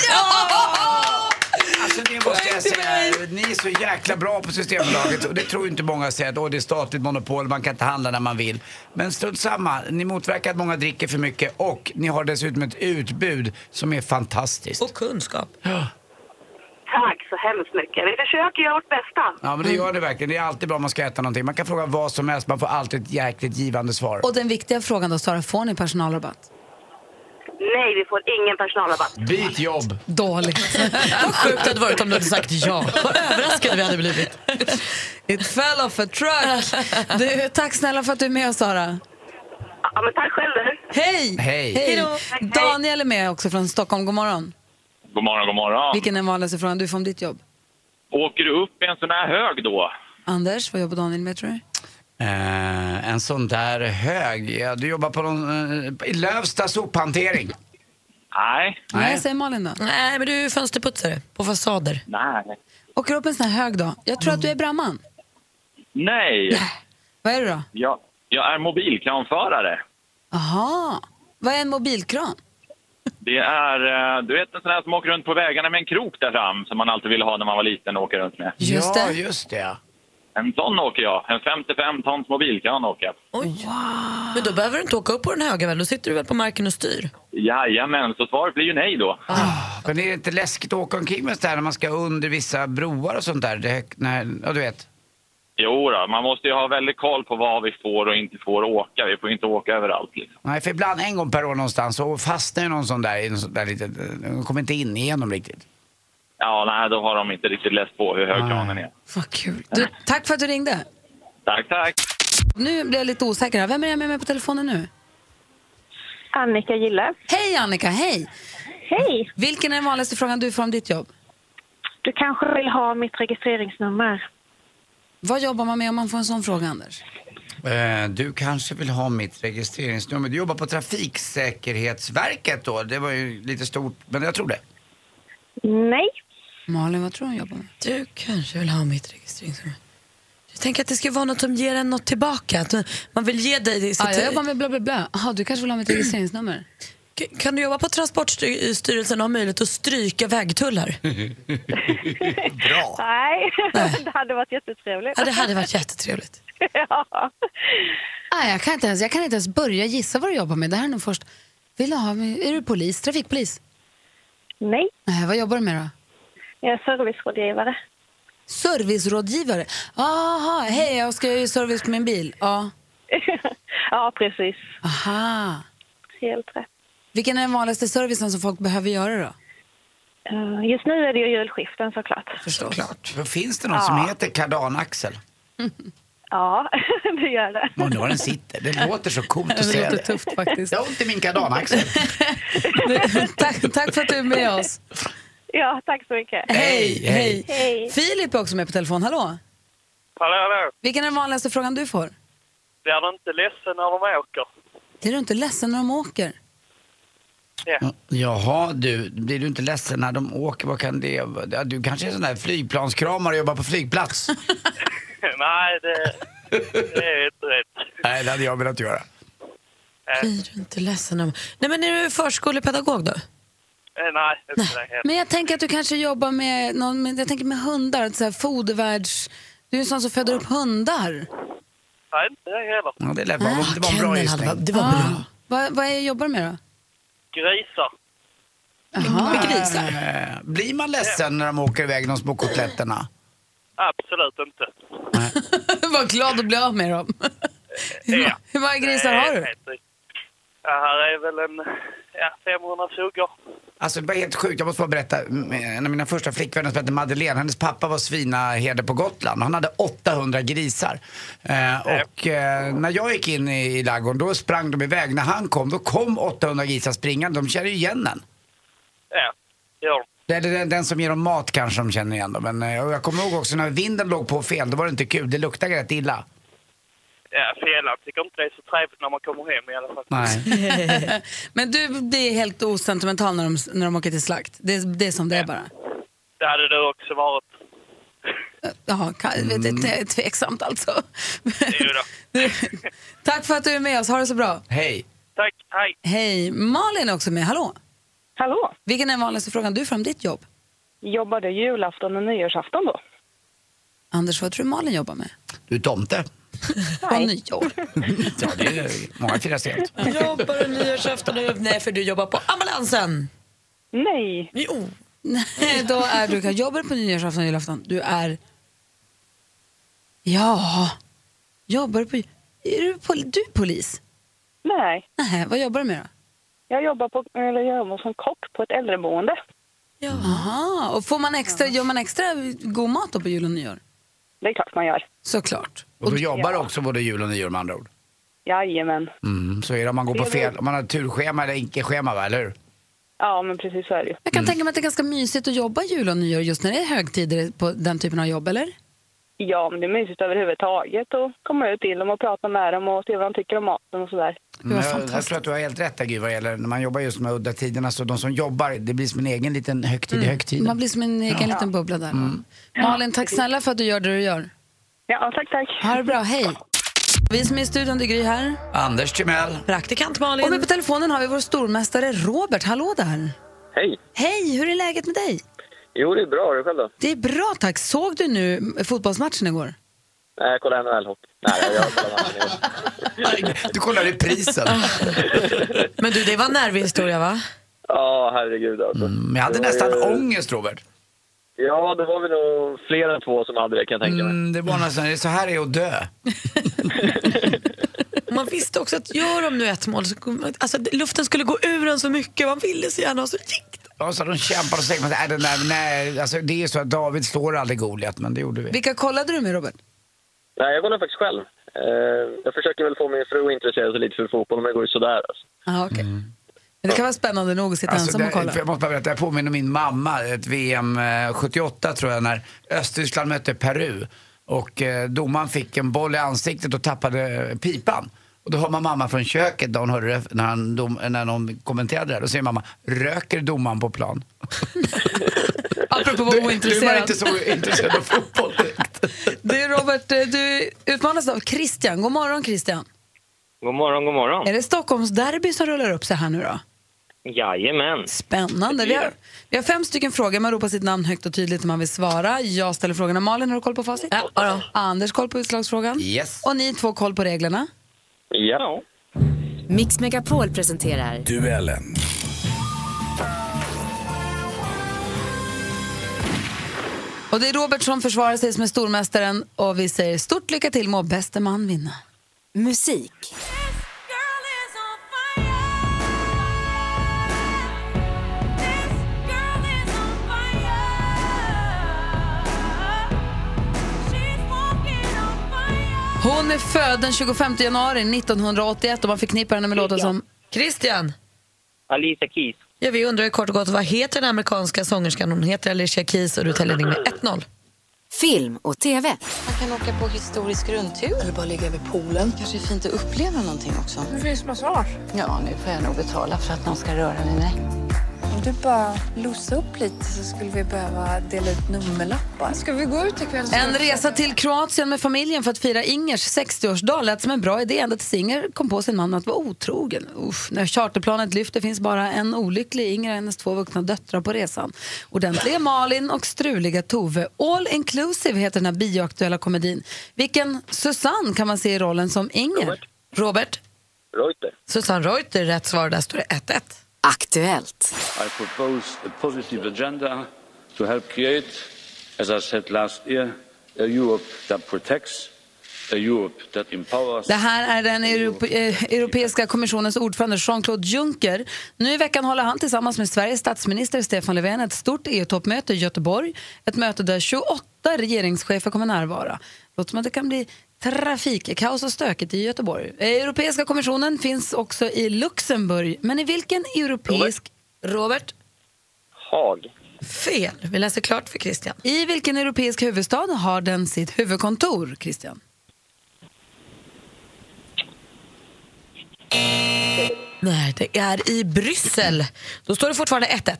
[SPEAKER 4] Alltså det måste jag säga, ni är så jäkla bra på Systembolaget och det tror ju inte många säger att åh, det är statligt monopol, man kan inte handla när man vill. Men strunt samma, ni motverkar att många dricker för mycket och ni har dessutom ett utbud som är fantastiskt.
[SPEAKER 6] Och kunskap.
[SPEAKER 10] Tack så hemskt mycket. Vi försöker göra vårt bästa.
[SPEAKER 4] Ja men det gör det verkligen. Det är alltid bra om man ska äta någonting. Man kan fråga vad som helst, man får alltid ett jäkligt givande svar.
[SPEAKER 2] Och den viktiga frågan då, Sara, får ni personalrabatt?
[SPEAKER 10] Nej, vi får ingen personalrabatt.
[SPEAKER 4] Byt jobb!
[SPEAKER 2] Dåligt.
[SPEAKER 6] *laughs* Vad sjukt det hade varit om du hade sagt ja. Vad överraskade vi hade blivit.
[SPEAKER 2] It fell off a truck. Du, tack snälla för att du är med oss, Sara.
[SPEAKER 10] Ja, men tack själv.
[SPEAKER 2] Hej!
[SPEAKER 10] Hej.
[SPEAKER 2] Hej.
[SPEAKER 10] Hejdå.
[SPEAKER 2] Daniel är med också från Stockholm. God morgon.
[SPEAKER 11] God morgon, god morgon.
[SPEAKER 2] Vilken är vanligaste frågan du får om ditt jobb?
[SPEAKER 11] Åker du upp i en sån här hög då?
[SPEAKER 2] Anders, vad jobbar Daniel med tror du?
[SPEAKER 4] Eh, en sån där hög. Ja, du jobbar på någon, eh, i Lövsta sophantering.
[SPEAKER 11] Nej.
[SPEAKER 2] Nej, säger Malin då.
[SPEAKER 6] Nej, men du är fönsterputsare på fasader.
[SPEAKER 11] Nej.
[SPEAKER 2] Åker upp en sån här hög då? Jag tror att du är brandman.
[SPEAKER 11] Nej.
[SPEAKER 2] Vad är du då?
[SPEAKER 11] Jag, jag är mobilkranförare.
[SPEAKER 2] Aha. Vad är en mobilkran?
[SPEAKER 11] Det är, eh, du vet en sån här som åker runt på vägarna med en krok där fram som man alltid ville ha när man var liten och åka runt med.
[SPEAKER 2] Just
[SPEAKER 4] ja, det. just det.
[SPEAKER 11] En sån åker jag. En 55 tons mobilkran åker jag.
[SPEAKER 6] Oj. Men då behöver du inte åka upp på den höga väl? Då sitter du väl på marken och styr?
[SPEAKER 11] Jajamän, så svaret blir ju nej då.
[SPEAKER 4] Ah, Men är det inte läskigt att åka omkring med sånt där när man ska under vissa broar och sånt där? Det, när, ja, du vet.
[SPEAKER 11] Jo då, man måste ju ha väldigt koll på vad vi får och inte får åka. Vi får inte åka överallt liksom.
[SPEAKER 4] Nej, för ibland en gång per år någonstans så fastnar ju någon sån där i en sån där litet... De kommer inte in igenom riktigt.
[SPEAKER 11] Ja, nej, då har de inte riktigt läst på hur hög kranen är.
[SPEAKER 2] Vad kul. Du, tack för att du ringde.
[SPEAKER 11] Tack, tack.
[SPEAKER 2] Nu blir jag lite osäker här. Vem är jag med mig på telefonen nu?
[SPEAKER 3] Annika Gille.
[SPEAKER 2] Hej Annika, hej!
[SPEAKER 3] Hej!
[SPEAKER 2] Vilken är den vanligaste frågan du får om ditt jobb?
[SPEAKER 3] Du kanske vill ha mitt registreringsnummer?
[SPEAKER 2] Vad jobbar man med om man får en sån fråga, Anders?
[SPEAKER 4] Eh, Du kanske vill ha mitt registreringsnummer. Du jobbar på Trafiksäkerhetsverket då. Det var ju lite stort, men jag tror det.
[SPEAKER 3] Nej.
[SPEAKER 2] Malin, vad tror du hon jobbar med?
[SPEAKER 6] Du kanske vill ha mitt registreringsnummer? Jag tänker att det ska vara något som ger en något tillbaka. Att man vill ge dig det.
[SPEAKER 2] Ah, jag jobbar med bla bla bla. Aha, du kanske vill ha *clears throat* mitt registreringsnummer?
[SPEAKER 6] K- Kan du jobba på Transportstyrelsen och ha möjlighet att
[SPEAKER 9] *laughs*
[SPEAKER 6] stryka vägtullar?
[SPEAKER 4] Bra.
[SPEAKER 3] *laughs* Nej, det hade varit jättetrevligt. *laughs*
[SPEAKER 6] Ja, det hade varit jättetrevligt.
[SPEAKER 3] ja.
[SPEAKER 2] Ah, jag, kan inte ens, jag kan inte ens börja gissa vad du jobbar med. Det här är nog först. Vill du ha, är du polis? Trafikpolis?
[SPEAKER 3] Nej.
[SPEAKER 2] Nej. Vad jobbar du med då?
[SPEAKER 3] Jag är servicerådgivare. *laughs*
[SPEAKER 2] Servicerådgivare? Aha, hej, jag ska göra service på min bil. Ja.
[SPEAKER 3] ja, precis.
[SPEAKER 2] Aha.
[SPEAKER 3] Helt rätt.
[SPEAKER 2] Vilken är den vanligaste servicen som folk behöver göra då?
[SPEAKER 3] Eh, Just nu är det ju julskiften såklart.
[SPEAKER 2] Förstås.
[SPEAKER 4] Klart. Då finns det någon som
[SPEAKER 3] Ja.
[SPEAKER 4] heter kardanaxel.
[SPEAKER 3] Ja, *laughs* det gör det.
[SPEAKER 4] Undrar var den sitter. Det låter så coolt att säga det.
[SPEAKER 2] tufft faktiskt. *laughs*
[SPEAKER 4] Jag har ont i min kardanaxel.
[SPEAKER 2] tack, tack för att du är med oss.
[SPEAKER 3] Ja, tack så mycket.
[SPEAKER 2] Hej, hej.
[SPEAKER 3] Hej.
[SPEAKER 2] Filip är också med på telefon. Hallå?
[SPEAKER 9] Hallå, hallå.
[SPEAKER 2] Vilken är den vanligaste frågan du får?
[SPEAKER 9] Blir du inte ledsen när de åker?
[SPEAKER 2] Blir du inte ledsen när de åker?
[SPEAKER 4] Jaha du, blir du inte ledsen när de åker? Vad kan det vara? Ja, Du kanske är en sån där flygplanskramare och jobbar på flygplats?
[SPEAKER 9] *laughs* Nej, det, det är inte rätt.
[SPEAKER 4] *laughs* Nej, det hade jag velat göra.
[SPEAKER 6] Blir du inte ledsen om... Nej, men är du förskolepedagog då?
[SPEAKER 9] Eh, Nej, det är inte
[SPEAKER 2] Men jag tänker att du kanske jobbar med, någon, med, jag tänker med hundar, så här fodervärds... Du är en sån som föder upp hundar.
[SPEAKER 9] Nej, inte det heller.
[SPEAKER 4] Ja, det lät bra. Det var en bra gissning.
[SPEAKER 6] Det var bra.
[SPEAKER 2] Ah, Vad, vad är jag jobbar med då?
[SPEAKER 9] Grisar.
[SPEAKER 2] Jaha.
[SPEAKER 4] *laughs* Eh, Blir man ledsen när de åker iväg, de små kotletterna?
[SPEAKER 9] Absolut inte.
[SPEAKER 2] Vad glad att bli av med dem. Hur ma- *laughs* Hur många grisar
[SPEAKER 6] *laughs*
[SPEAKER 2] har du?
[SPEAKER 9] Det här är väl en ja, 500 suggor.
[SPEAKER 4] Alltså det var helt sjukt, jag måste bara berätta. Mm, En av mina första flickvänner som hette Madeleine, hennes pappa var svinaherde på Gotland. Han hade 800 grisar. Eh, och eh, när jag gick in i, i ladugården, då sprang de iväg. När han kom, då kom 800 grisar springande. De känner ju igen den.
[SPEAKER 9] Ja, ja.
[SPEAKER 4] Det är den, den som ger dem mat kanske de känner igen dem. Men eh, jag kommer ihåg också när vinden låg på fel, då var det inte kul. Det luktade rätt illa.
[SPEAKER 9] Ja, fjällan tycker inte det är så trevligt när man kommer hem i alla fall.
[SPEAKER 4] Nej.
[SPEAKER 2] Men du blir helt osentimental när de, när de åker till slakt. Det, är- det är som det är bara.
[SPEAKER 9] Det hade du också varit.
[SPEAKER 2] Jaha, kan, vet du, det är tveksamt alltså. *laughs* Du, Tack för att du är med oss. Ha det så bra.
[SPEAKER 4] *laughs* Hej.
[SPEAKER 9] Tack, hej.
[SPEAKER 2] Hej. Malin är också med. Hallå?
[SPEAKER 12] Hallå?
[SPEAKER 2] Vilken är den vanligaste frågan du får om ditt jobb?
[SPEAKER 12] Jobbar du julafton och nyårsafton då?
[SPEAKER 2] Anders, vad tror du Malin jobbar med?
[SPEAKER 4] Du är tomte.
[SPEAKER 2] På nyår.
[SPEAKER 4] Ja, det är många firar sent.
[SPEAKER 6] Jobbar du nyårsafton? och- Nej, för du jobbar på ambulansen.
[SPEAKER 12] Nej.
[SPEAKER 6] Jo.
[SPEAKER 2] Nej, då är du, jobbar du på nyårsafton och julafton? Du är... Ja, jobbar du på... Är du, pol, du är polis?
[SPEAKER 12] Nej.
[SPEAKER 2] Nej, vad jobbar du med då?
[SPEAKER 12] Jag jobbar, på, eller jag jobbar som kock på ett äldreboende.
[SPEAKER 2] Aha, och får man extra, gör man extra god mat då på jul och nyår?
[SPEAKER 12] Det är klart man gör.
[SPEAKER 2] Såklart.
[SPEAKER 4] Och då jobbar du också både jul och nyår med andra ord?
[SPEAKER 12] Jajamän.
[SPEAKER 4] Mm, så är det om man går på fel, om man har turschema eller icke-schema, va, eller hur?
[SPEAKER 12] Ja, men precis så är det ju.
[SPEAKER 4] Mm.
[SPEAKER 2] Jag kan tänka mig att det är ganska mysigt att jobba jul och nyår just när det är högtider på den typen av jobb, eller?
[SPEAKER 12] Ja, men det är mysigt överhuvudtaget att komma ut till dem och prata med dem och se vad de tycker om maten och sådär.
[SPEAKER 4] Men Jag, Mm. jag tror att du har helt rätt där, Gud, vad det gäller när man jobbar just med udda tiderna. Så de som jobbar, det blir som en egen liten högtid i högtiden.
[SPEAKER 2] Man blir som en egen
[SPEAKER 4] Ja.
[SPEAKER 2] liten bubbla där.
[SPEAKER 4] Mm.
[SPEAKER 2] Malin, tack snälla för att du gör det du gör.
[SPEAKER 12] Ja, tack, tack.
[SPEAKER 2] Ha det bra, hej. Vi som är i studion, det är Gry här.
[SPEAKER 4] Anders *laughs* Timell.
[SPEAKER 2] Praktikant Malin. Och med på telefonen har vi vår stormästare Robert. Hallå där.
[SPEAKER 13] Hej!
[SPEAKER 2] Hej, hur är läget med dig?
[SPEAKER 13] Jo, det är bra. Har du själv då?
[SPEAKER 2] Det är bra tack. Såg du nu
[SPEAKER 6] *laughs*
[SPEAKER 2] fotbollsmatchen igår?
[SPEAKER 13] Nej, jag kollar NHL-hockey. Nej, jag kollar
[SPEAKER 2] *laughs*
[SPEAKER 4] Du kollar reprisen.
[SPEAKER 6] Men du, det var en nervig historia va?
[SPEAKER 13] Ja, herregud alltså. Mm,
[SPEAKER 4] jag hade nästan ångest, Robert.
[SPEAKER 13] Ja, det var väl nog fler än två som hade det kan jag tänka mig.
[SPEAKER 4] Mm, det var nästan, det är så här det är att dö.
[SPEAKER 6] Och man visste också att gör de nu ett mål så kommer- alltså, luften skulle gå ur en så mycket. Man ville så gärna och så gick det.
[SPEAKER 4] Ja, så de kämpar och säger, nej, den där, nej, alltså det är ju så att David slår aldrig Goliat, men det gjorde vi.
[SPEAKER 2] Vilka kollade du med Robert?
[SPEAKER 13] Nej, jag kollar faktiskt själv. Eh, jag försöker väl få min fru att intressera sig lite för fotboll, men det går ju sådär. Alltså.
[SPEAKER 2] Ja, okej. Men det kan vara spännande nog att sitta
[SPEAKER 4] Mm. Alltså,
[SPEAKER 2] ensam och
[SPEAKER 4] det-
[SPEAKER 2] kolla.
[SPEAKER 4] för jag måste bara berätta, jag påminner om min mamma, ett VM eh, 78 tror jag, när Östtyskland mötte Peru. Och eh, domaren fick en boll i ansiktet och tappade eh, pipan. Och då hör man mamma från köket, där hon hörde det, när, han dom, när någon kommenterade det här, då säger mamma, röker domaren på plan? *laughs*
[SPEAKER 2] Apropå
[SPEAKER 4] Du-
[SPEAKER 2] vad
[SPEAKER 4] du var
[SPEAKER 2] ointresserad.
[SPEAKER 4] inte så intresserad av fotboll.
[SPEAKER 2] Du Robert, eh, du utmanas av Christian. God morgon Christian.
[SPEAKER 14] God morgon, god morgon.
[SPEAKER 2] Är det Stockholmsderby som rullar upp sig här nu då?
[SPEAKER 14] Jajamän.
[SPEAKER 2] Spännande. Vi har, vi har fem stycken frågor. Man ropar sitt namn högt och tydligt om man vill svara. Jag ställer frågorna. Malin, har du koll på facit? Ja, Anders, koll på utslagsfrågan?
[SPEAKER 4] Yes.
[SPEAKER 2] Och ni två, koll på reglerna?
[SPEAKER 13] Ja.
[SPEAKER 15] Mix Megapol presenterar...
[SPEAKER 16] Duellen.
[SPEAKER 2] Och det är Robert som försvarar sig som är stormästaren och vi säger stort lycka till, må bäste man vinna.
[SPEAKER 15] Musik.
[SPEAKER 2] Hon är född den 25 januari 1981 och man förknippar henne med låtar som
[SPEAKER 6] Christian,
[SPEAKER 14] Alicia Keys.
[SPEAKER 6] ja, vi undrar ju kort och gott vad heter den amerikanska sångerskan? Hon heter Alicia Keys och du tar ledning med 1-0.
[SPEAKER 15] Film och TV.
[SPEAKER 17] Man kan åka på historisk rundtur. Eller bara ligga vid poolen. Kanske är fint att uppleva någonting också.
[SPEAKER 18] Det finns massage.
[SPEAKER 17] Ja, nu får jag nog betala för att någon ska röra vid mig.
[SPEAKER 18] Om du bara lossar upp lite så skulle vi behöva dela ut nummerlappar. Ska vi gå ut ikväll?
[SPEAKER 2] En resa till Kroatien med familjen för att fira Ingers 60-årsdag lät som en bra idé ända tills Inger kom på sin man att vara otrogen. Uff, när charterplanet lyfter finns bara en olycklig Inger och hennes två vuxna döttrar på resan. Ordentliga Malin och struliga Tove. All inclusive heter den här bioaktuella komedin. Vilken Susanne kan man se i rollen som Inger? Robert.
[SPEAKER 6] Robert?
[SPEAKER 14] Reuter.
[SPEAKER 6] Susanne Reuter, rätt svar. Där står det 1-1.
[SPEAKER 15] Aktuellt.
[SPEAKER 19] I propose a positive agenda to help create, as I said last year, a Europe that protects, a Europe that empowers.
[SPEAKER 2] Det här är den Europ eh, Europeiska kommissionens ordförande Jean-Claude Juncker. Nu i veckan håller han tillsammans med Sveriges statsminister Stefan Löfven ett stort EU-toppmöte i Göteborg. Ett möte där 28 regeringschefer kommer närvara. Låter som att det kan bli trafikkaos och stökigt i Göteborg. Eh, Europeiska kommissionen finns också i Luxemburg. Men i vilken europeisk... Robert?
[SPEAKER 14] Haag.
[SPEAKER 2] Fel. Vi läser klart för Christian. I vilken europeisk huvudstad har den sitt huvudkontor, Christian?
[SPEAKER 6] Nej, det är i Bryssel. Då står det fortfarande 1-1.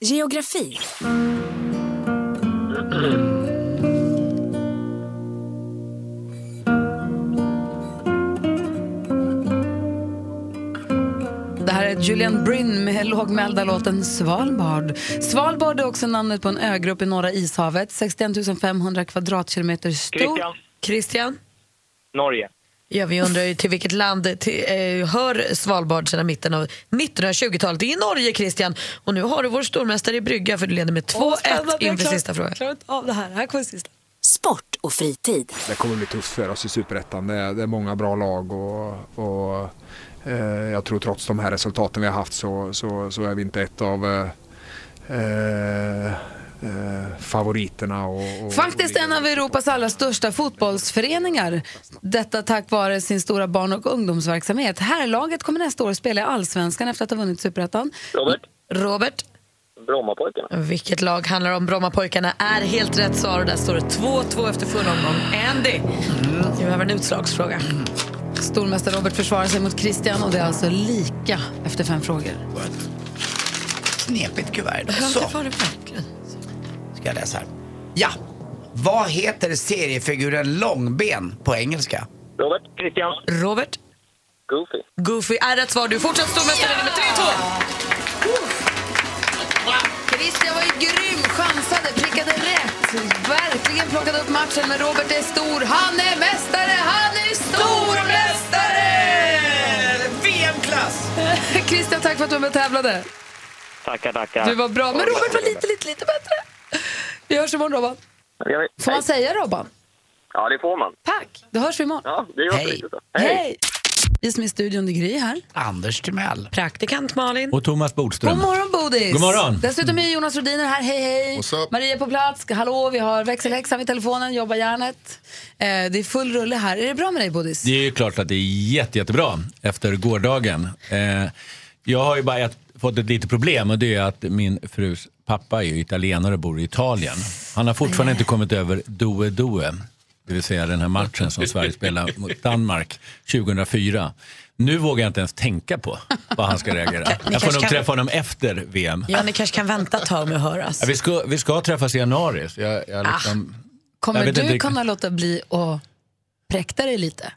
[SPEAKER 15] Geografi.
[SPEAKER 2] Det här är Julian Bryn med lågmälda låten Svalbard. Svalbard är också namnet på en ögrupp i Norra ishavet, 61 500 kvadratkilometer stor.
[SPEAKER 14] Christian.
[SPEAKER 2] Christian.
[SPEAKER 14] Norge.
[SPEAKER 6] Ja, vi undrar ju till vilket land till, eh, hör Svalbard sedan mitten av 1920-talet? Det är Norge, Christian. Och nu har du vår stormästare i brygga för du leder med 2-1 inför sista frågan.
[SPEAKER 2] Klart av det här. Här kommer sista.
[SPEAKER 15] Sport och fritid.
[SPEAKER 20] Det kommer bli tufft för oss i Superettan. Det, är- det är många bra lag och, och eh, jag tror trots de här resultaten vi har haft så, så, så är vi inte ett av eh, eh, eh, favoriterna. Och, och,
[SPEAKER 2] Faktiskt en av Europas allra största fotbollsföreningar. Detta tack vare sin stora barn och ungdomsverksamhet. Herrlaget kommer nästa år spela i Allsvenskan efter att ha vunnit Superettan.
[SPEAKER 14] Robert?
[SPEAKER 6] Robert?
[SPEAKER 14] Brommapojkarna.
[SPEAKER 6] Vilket lag handlar om? Brommapojkarna är helt rätt svar och där står det 2-2 efter full omgång. Andy, du behöver en utslagsfråga.
[SPEAKER 2] Stormästare Robert försvarar sig mot Christian och det är alltså lika efter fem frågor.
[SPEAKER 4] Knepigt kuvert idag.
[SPEAKER 6] Ja,
[SPEAKER 4] Så,
[SPEAKER 6] det var det verkligen.
[SPEAKER 4] ska jag läsa här. Ja. Vad heter seriefiguren Långben på engelska?
[SPEAKER 14] Robert? Christian?
[SPEAKER 6] Robert?
[SPEAKER 14] Goofy.
[SPEAKER 6] Goofy är rätt svar. Du är fortsatt stormästare med 3-2.
[SPEAKER 2] Christian var ju grym, chansade, prickade rätt. Verkligen plockade upp matchen, men Robert är stor. Han är mästare, han är stormästare!
[SPEAKER 4] VM-klass!
[SPEAKER 2] *laughs* Christian, tack för att du var med och tävlade.
[SPEAKER 14] Tackar, tackar.
[SPEAKER 2] Du var bra, men Robert var lite, lite, lite bättre. Vi hörs imorgon, Robban. Får man säga Robban?
[SPEAKER 14] Ja, det får man.
[SPEAKER 2] Tack, då hörs vi imorgon.
[SPEAKER 14] Ja, det gör Hej.
[SPEAKER 2] Hej. Vi som är i studion, det är Gry här.
[SPEAKER 4] Anders Timell.
[SPEAKER 2] Praktikant Malin.
[SPEAKER 16] Och Thomas Bodström.
[SPEAKER 2] God morgon Bodis!
[SPEAKER 16] God morgon.
[SPEAKER 2] Dessutom är Jonas Rhodiner här, hej hej!
[SPEAKER 16] What's up?
[SPEAKER 2] Maria på plats, hallå, vi har växelhäxan vid telefonen, jobbar järnet. Eh, det är full rulle här. Är det bra med dig Bodis?
[SPEAKER 16] Det är ju klart att det är jätte, jättebra efter gårdagen. Eh, jag har ju bara ett, fått ett litet problem och det är att min frus pappa är ju italienare och bor i Italien. Han har fortfarande inte kommit över Doe Doe, det vill säga den här matchen som Sverige spelar mot Danmark 2004. Nu vågar jag inte ens tänka på vad han ska reagera.
[SPEAKER 6] ni
[SPEAKER 16] Jag får
[SPEAKER 6] kanske
[SPEAKER 16] nog
[SPEAKER 6] kan-
[SPEAKER 16] träffa honom efter VM.
[SPEAKER 6] Ja, ni kanske kan vänta ett tag med att höras.
[SPEAKER 16] Ja, vi, ska, vi ska träffas i januari. Så jag, jag liksom, jag
[SPEAKER 2] Kommer
[SPEAKER 16] vet
[SPEAKER 2] du
[SPEAKER 16] inte riktigt.
[SPEAKER 2] kunna låta bli att präkta dig lite?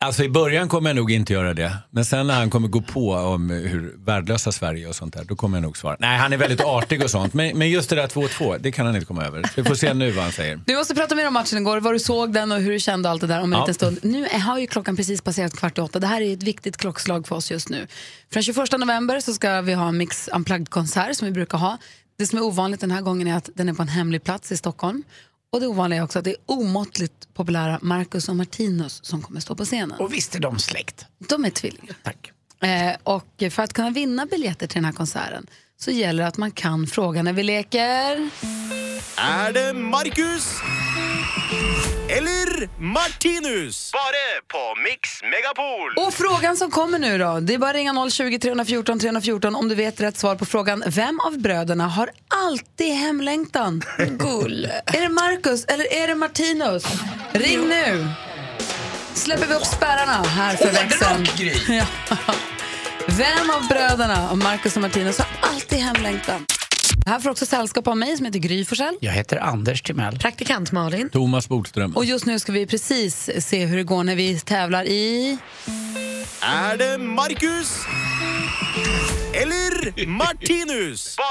[SPEAKER 16] Alltså i början kommer jag nog inte göra det. Men sen när han kommer gå på om hur värdelösa Sverige och sånt där, då kommer jag nog svara. Nej, han är väldigt artig och sånt. Men, men just det där 2-2, det kan han inte komma över. Vi får se nu vad han säger.
[SPEAKER 2] Du måste prata mer om matchen igår, vad du såg den och hur du kände och allt det där om en
[SPEAKER 16] Ja.
[SPEAKER 2] liten stund. Nu är- har ju klockan precis passerat kvart i åtta. Det här är ett viktigt klockslag för oss just nu. Från 21 november så ska vi ha en Mix Unplugged-konsert som vi brukar ha. Det som är ovanligt den här gången är att den är på en hemlig plats i Stockholm. Och det ovanliga är också att det är omåttligt populära Marcus och Martinus som kommer stå på scenen.
[SPEAKER 4] Och visst är de släkt?
[SPEAKER 2] De är tvillingar. Eh, och för att kunna vinna biljetter till den här konserten så gäller det att man kan fråga när vi leker...
[SPEAKER 21] Är det Marcus? Eller Martinus? Bara på Mix Megapol!
[SPEAKER 2] Och frågan som kommer nu då, det är bara att ringa 020 314 314 om du vet rätt svar på frågan Vem av bröderna har alltid hemlängtan? Gull. är det Marcus eller är det Martinus? Ring nu! Släpper vi upp spärrarna här för växeln. Ja. Vem av bröderna, av Marcus och Martinus, har alltid hemlängtan? Här får också sällskap av mig som heter Gry Forssell.
[SPEAKER 4] Jag heter Anders Timell.
[SPEAKER 2] Praktikant Malin.
[SPEAKER 16] Thomas Bodström.
[SPEAKER 2] Och just nu ska vi precis se hur det går när vi tävlar i...
[SPEAKER 21] Är det Marcus? Eller Martinus? Bara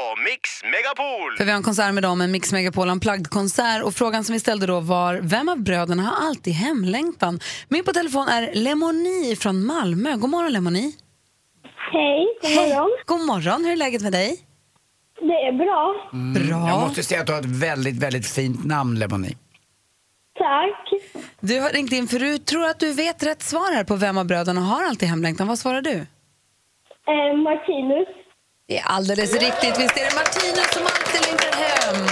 [SPEAKER 21] på Mix Megapol!
[SPEAKER 2] För vi har en konsert med dem, en Mix Megapol Unplugged-konsert. Och frågan som vi ställde då var, vem av bröderna har alltid hemlängtan? Med på telefon är Lemoni från Malmö. God morgon Lemoni.
[SPEAKER 22] Hej, god morgon.
[SPEAKER 2] God morgon, hur är läget med dig?
[SPEAKER 22] Det är bra.
[SPEAKER 2] Bra.
[SPEAKER 4] Mm, Jag måste säga att du har ett väldigt, väldigt fint namn, Lemoni.
[SPEAKER 22] Tack.
[SPEAKER 2] Du har ringt in förut, tror att du vet rätt svar här på vem av bröderna har alltid hemlängtan. Vad svarar du?
[SPEAKER 22] Eh, Martinus.
[SPEAKER 2] Det är alldeles riktigt. Visst är det Martinus som alltid längtar hem?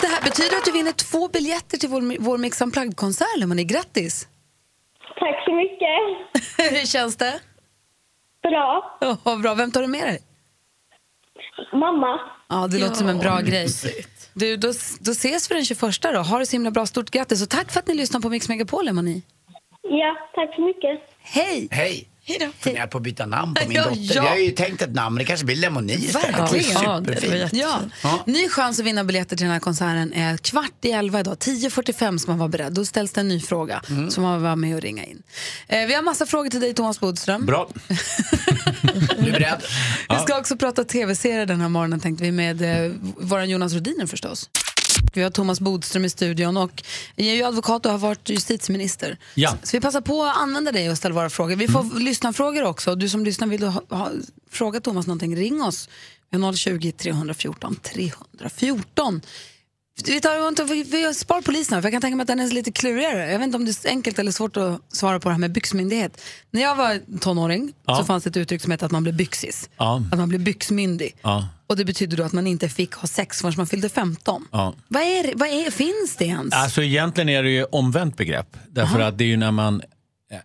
[SPEAKER 2] Det här betyder att du vinner två biljetter till vår, vår Mix Unplugged-konsert, Lemoni. Grattis! *laughs*
[SPEAKER 22] Tack så mycket.
[SPEAKER 2] Hur känns det?
[SPEAKER 22] Bra.
[SPEAKER 2] Oh, bra. Vem tar du med dig?
[SPEAKER 22] Mamma.
[SPEAKER 2] Ja, det låter som en bra grej. Du, då, då ses vi den 21 då. Ha det så himla bra. Stort grattis och tack för att ni lyssnar på Mix Megapol, Emani.
[SPEAKER 22] Ja, tack så mycket.
[SPEAKER 2] Hej!
[SPEAKER 4] Hej!
[SPEAKER 2] Hej då.
[SPEAKER 4] Funderar på att byta namn på min
[SPEAKER 2] Ja,
[SPEAKER 4] dotter.
[SPEAKER 2] ja.
[SPEAKER 4] Jag har ju tänkt ett namn, det kanske blir Lemoni istället.
[SPEAKER 2] Verkligen.
[SPEAKER 4] Det är superfint.
[SPEAKER 2] Ja. Ny chans att vinna biljetter till den här konserten är kvart i elva idag. 10.45 ska man vara beredd. Då ställs det en ny fråga
[SPEAKER 23] Mm.
[SPEAKER 2] som man var med och ringa in. Eh, vi har massa frågor till dig, Thomas Bodström.
[SPEAKER 16] Bra.
[SPEAKER 4] *laughs* Du är beredd?
[SPEAKER 2] *laughs* Vi ska också prata tv-serier den här morgonen tänkte vi med eh, vår Jonas Rhodiner förstås. Vi har Thomas Bodström i studion och jag är ju advokat och har varit justitieminister.
[SPEAKER 16] Ja.
[SPEAKER 2] Så vi passar på att använda dig och ställa våra frågor. Vi får lyssnarfrågor också. Du som lyssnar, vill du ha, ha, fråga Thomas någonting, ring oss. Vi har 020 314 314. Vi, tar, inte- vi, vi spar polisen, för jag kan tänka mig att den är lite klurigare. Jag vet inte om det är enkelt eller svårt att svara på det här med byxmyndighet. När jag var tonåring
[SPEAKER 16] Ja.
[SPEAKER 2] så fanns det ett uttryck som hette att man blev byxis.
[SPEAKER 16] Ja.
[SPEAKER 2] Att man blev byxmyndig.
[SPEAKER 16] Ja.
[SPEAKER 2] Och det betyder då att man inte fick ha sex förrän man fyllde 15.
[SPEAKER 16] Ja.
[SPEAKER 2] Vad är, vad är, finns det ens?
[SPEAKER 16] Alltså egentligen är det ju omvänt begrepp. Därför att det är ju när man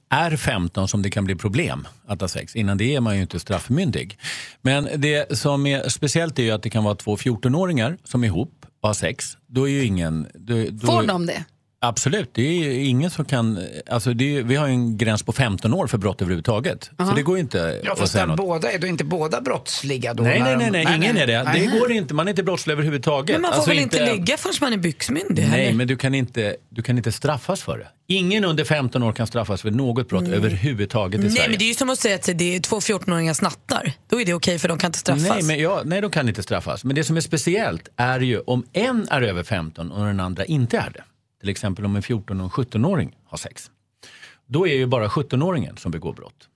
[SPEAKER 16] är 15 som det kan bli problem att ha sex. Innan det är man ju inte straffmyndig. Men det som är speciellt är ju att det kan vara två 14-åringar som är ihop och har sex. Då är ju ingen... Då, då,
[SPEAKER 2] Får de det?
[SPEAKER 16] Absolut, det är ju ingen som kan... Alltså det är, ju- vi har ju en gräns på 15 år för brott överhuvudtaget. Så
[SPEAKER 4] Aha.
[SPEAKER 16] det går ju inte
[SPEAKER 4] Ja,
[SPEAKER 16] att
[SPEAKER 4] fast
[SPEAKER 16] säga
[SPEAKER 4] där
[SPEAKER 16] något.
[SPEAKER 4] båda är då inte båda brottsliga då?
[SPEAKER 16] Nej,
[SPEAKER 4] när
[SPEAKER 16] nej,
[SPEAKER 4] de-
[SPEAKER 16] nej, nej, ingen är det.
[SPEAKER 4] Nej.
[SPEAKER 16] Det går inte, man är inte brottslig överhuvudtaget.
[SPEAKER 6] Men man får
[SPEAKER 16] Alltså
[SPEAKER 6] väl inte, ligga förrän man är byxmyndig?
[SPEAKER 16] Nej,
[SPEAKER 6] heller?
[SPEAKER 16] men du kan, inte, du kan inte straffas för det. Ingen under 15 år kan straffas för något brott
[SPEAKER 6] Nej.
[SPEAKER 16] överhuvudtaget i
[SPEAKER 6] Nej,
[SPEAKER 16] Sverige.
[SPEAKER 6] men det är ju som att säga att det är två 14-åringar snattar. Då är det okej för de kan inte straffas.
[SPEAKER 16] Nej, men ja, nej, de kan inte straffas. Men det som är speciellt är ju om en är över 15 och den andra inte är det. Till exempel om en 14 och en 17-åring har sex. Då är ju bara 17-åringen som begår brott.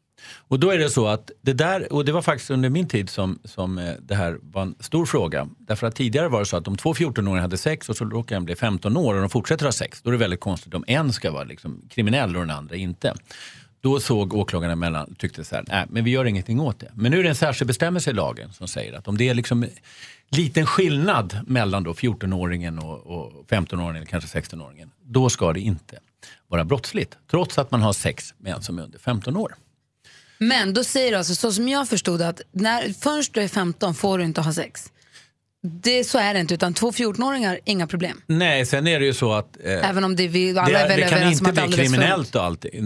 [SPEAKER 16] Och då är det så att det där, och det var faktiskt under min tid som, som eh, det här var en stor fråga. Därför att tidigare var det så att om två 14-åringar hade sex och så råkar en bli 15 år och de fortsätter ha sex, då är det väldigt konstigt om en ska vara liksom kriminell och den andra inte. Då såg åklagarna mellan, tyckte så här, nej men vi gör ingenting åt det. Men nu är det en särskild bestämmelse i lagen som säger att om det är liksom liten skillnad mellan då 14-åringen och, och 15-åringen eller kanske 16-åringen, då ska det inte vara brottsligt. Trots att man har sex med en som är under 15 år.
[SPEAKER 2] Men då säger du alltså, så som jag förstod det, att när, först du är 15 får du inte ha sex. Det, så är det inte, utan två 14-åringar, inga problem.
[SPEAKER 16] Nej, sen är det ju så att... eh,
[SPEAKER 2] Även om det, vi alla
[SPEAKER 16] det,
[SPEAKER 2] är väl
[SPEAKER 16] det kan
[SPEAKER 2] överens om
[SPEAKER 16] inte
[SPEAKER 2] att det
[SPEAKER 16] bli
[SPEAKER 2] är alldeles för- Mm.
[SPEAKER 16] kriminellt och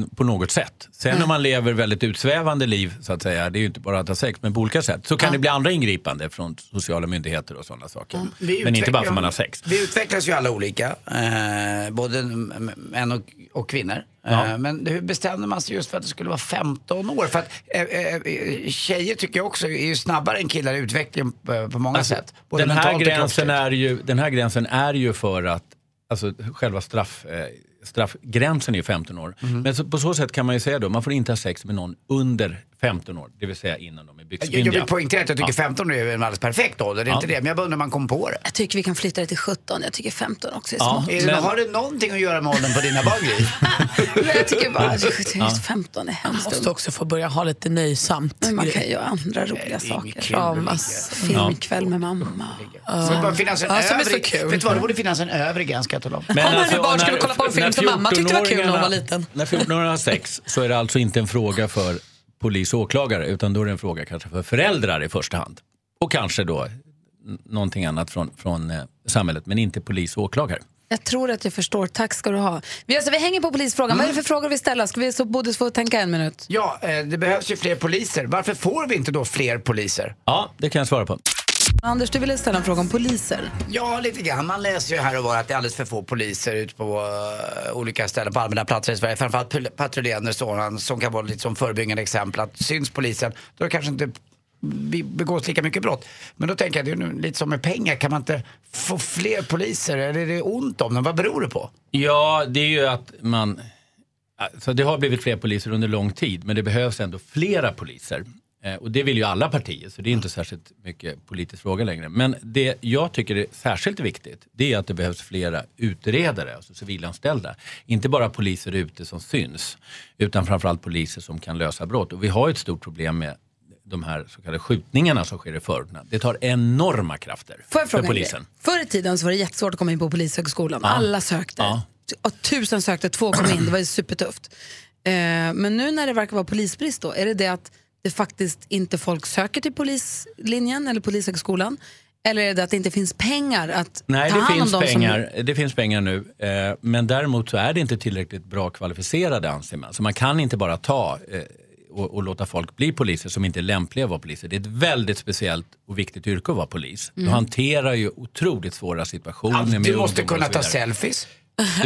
[SPEAKER 16] allt, på något sätt. Sen
[SPEAKER 2] Nej.
[SPEAKER 16] om man lever väldigt utsvävande liv, så att säga, det är ju inte bara att ha sex, men på olika sätt, så kan det bli andra ingripande från sociala myndigheter och sådana saker.
[SPEAKER 4] Vi
[SPEAKER 16] Men inte bara
[SPEAKER 4] utvecklar-
[SPEAKER 16] för man har sex.
[SPEAKER 4] Vi utvecklas ju alla olika, eh, både m- män och, och kvinnor.
[SPEAKER 16] Ja.
[SPEAKER 4] Eh, men hur bestämde man sig just för att det skulle vara 15 år? För att eh, eh, tjejer tycker jag också är ju snabbare än killar i utvecklingen eh, på, på många sätt. Både
[SPEAKER 16] Alltså, den här,
[SPEAKER 4] mentalt och
[SPEAKER 16] gränsen
[SPEAKER 4] kroppsligt.
[SPEAKER 16] är ju, den här gränsen är ju för att, alltså själva straff, eh, straffgränsen är ju 15 år. Men så, på så sätt kan man ju säga då, man får inte ha sex med någon under 15 år, det vill säga innan de är
[SPEAKER 4] Jag, jag
[SPEAKER 16] byxmyndiga.
[SPEAKER 4] vill poängtera att jag tycker
[SPEAKER 16] Ja.
[SPEAKER 4] 15 år är en alldeles perfekt ålder, det är
[SPEAKER 16] Ja.
[SPEAKER 4] inte det. Men jag bara undrar om man kom på det.
[SPEAKER 2] Jag tycker vi kan flytta det till 17, jag tycker 15 också är
[SPEAKER 4] Ja,
[SPEAKER 2] smart.
[SPEAKER 4] är det, Har det någonting att göra med åldern på dina barn?
[SPEAKER 16] *laughs*
[SPEAKER 4] Gry?
[SPEAKER 2] Men jag tycker bara,
[SPEAKER 4] *laughs*
[SPEAKER 2] just
[SPEAKER 4] Ja.
[SPEAKER 2] 15 är
[SPEAKER 6] Man
[SPEAKER 2] hemskt
[SPEAKER 6] måste också få börja ha lite nöjsamt.
[SPEAKER 2] Men man kan ju göra andra roliga saker.
[SPEAKER 6] Kramas.
[SPEAKER 2] Filmkväll med mamma.
[SPEAKER 4] Det borde bara finnas en
[SPEAKER 6] Ja, som är så
[SPEAKER 4] övre,
[SPEAKER 6] kul.
[SPEAKER 4] vet du vad, det borde finnas en övre gräns kan jag tala om.
[SPEAKER 16] Men alltså, när- när
[SPEAKER 6] hon var
[SPEAKER 16] 14-åringarna
[SPEAKER 6] liten.
[SPEAKER 16] När 14-åringar har sex så är det alltså inte en fråga för polis och åklagare utan då är det en fråga kanske för föräldrar i första hand. Och kanske då n- någonting annat från, från eh, samhället men inte polis och åklagare.
[SPEAKER 2] Jag tror att jag förstår. Tack ska du ha. Vi, alltså, vi hänger på polisfrågan. Vad är det för frågor vi ställer? Ska vi så både få tänka en minut?
[SPEAKER 4] Ja, eh, det behövs ju fler poliser. Varför får vi inte då fler poliser?
[SPEAKER 16] Ja, det kan jag svara på.
[SPEAKER 2] Anders, du ville ställa en fråga om poliser.
[SPEAKER 4] Ja, lite grann. Man läser ju här och var att det är alldeles för få poliser ute på eh, olika ställen på allmänna platser i Sverige. Framförallt pul- patrullerande sådana som kan vara lite som förebyggande exempel. Att syns polisen, då är det kanske inte be- begås lika mycket brott. Men då tänker jag, det är nu lite som med pengar. Kan man inte få fler poliser? Eller är det ont om dem? Vad beror det på?
[SPEAKER 16] Ja, det är ju att man... Alltså det har blivit fler poliser under lång tid, men det behövs ändå flera poliser. Eh, Och det vill ju alla partier, så det är inte särskilt mycket politisk fråga längre. Men det jag tycker är särskilt viktigt, det är att det behövs flera utredare, alltså civilanställda. Inte bara poliser ute som syns, utan framförallt poliser som kan lösa brott. Och vi har ju ett stort problem med de här så kallade skjutningarna som sker i förorterna. Det tar enorma krafter
[SPEAKER 2] Får jag fråga
[SPEAKER 16] för
[SPEAKER 2] en grej?
[SPEAKER 16] polisen.
[SPEAKER 2] Förr i tiden så var det jättesvårt att komma in på Polishögskolan.
[SPEAKER 16] Ja.
[SPEAKER 2] Alla sökte.
[SPEAKER 16] Ja.
[SPEAKER 2] Och tusen sökte, två kom in. Det var ju supertufft. Eh, men nu när det verkar vara polisbrist då, är det det att det faktiskt inte folk söker till polislinjen eller polishögskolan? Eller är det att det inte finns pengar att
[SPEAKER 16] Nej,
[SPEAKER 2] ta
[SPEAKER 16] det
[SPEAKER 2] hand om
[SPEAKER 16] finns,
[SPEAKER 2] dem
[SPEAKER 16] pengar,
[SPEAKER 2] som...
[SPEAKER 16] det finns pengar nu. Eh, men däremot så är det inte tillräckligt bra kvalificerade anser man. Så man kan inte bara ta eh, och, och låta folk bli poliser som inte är lämpliga att vara poliser. Det är ett väldigt speciellt och viktigt yrke att vara polis. Du
[SPEAKER 4] Mm.
[SPEAKER 16] hanterar ju otroligt svåra situationer.
[SPEAKER 4] Ja,
[SPEAKER 16] med
[SPEAKER 4] du måste
[SPEAKER 16] ungdomar och
[SPEAKER 4] kunna
[SPEAKER 16] så
[SPEAKER 4] ta
[SPEAKER 16] vidare.
[SPEAKER 4] selfies.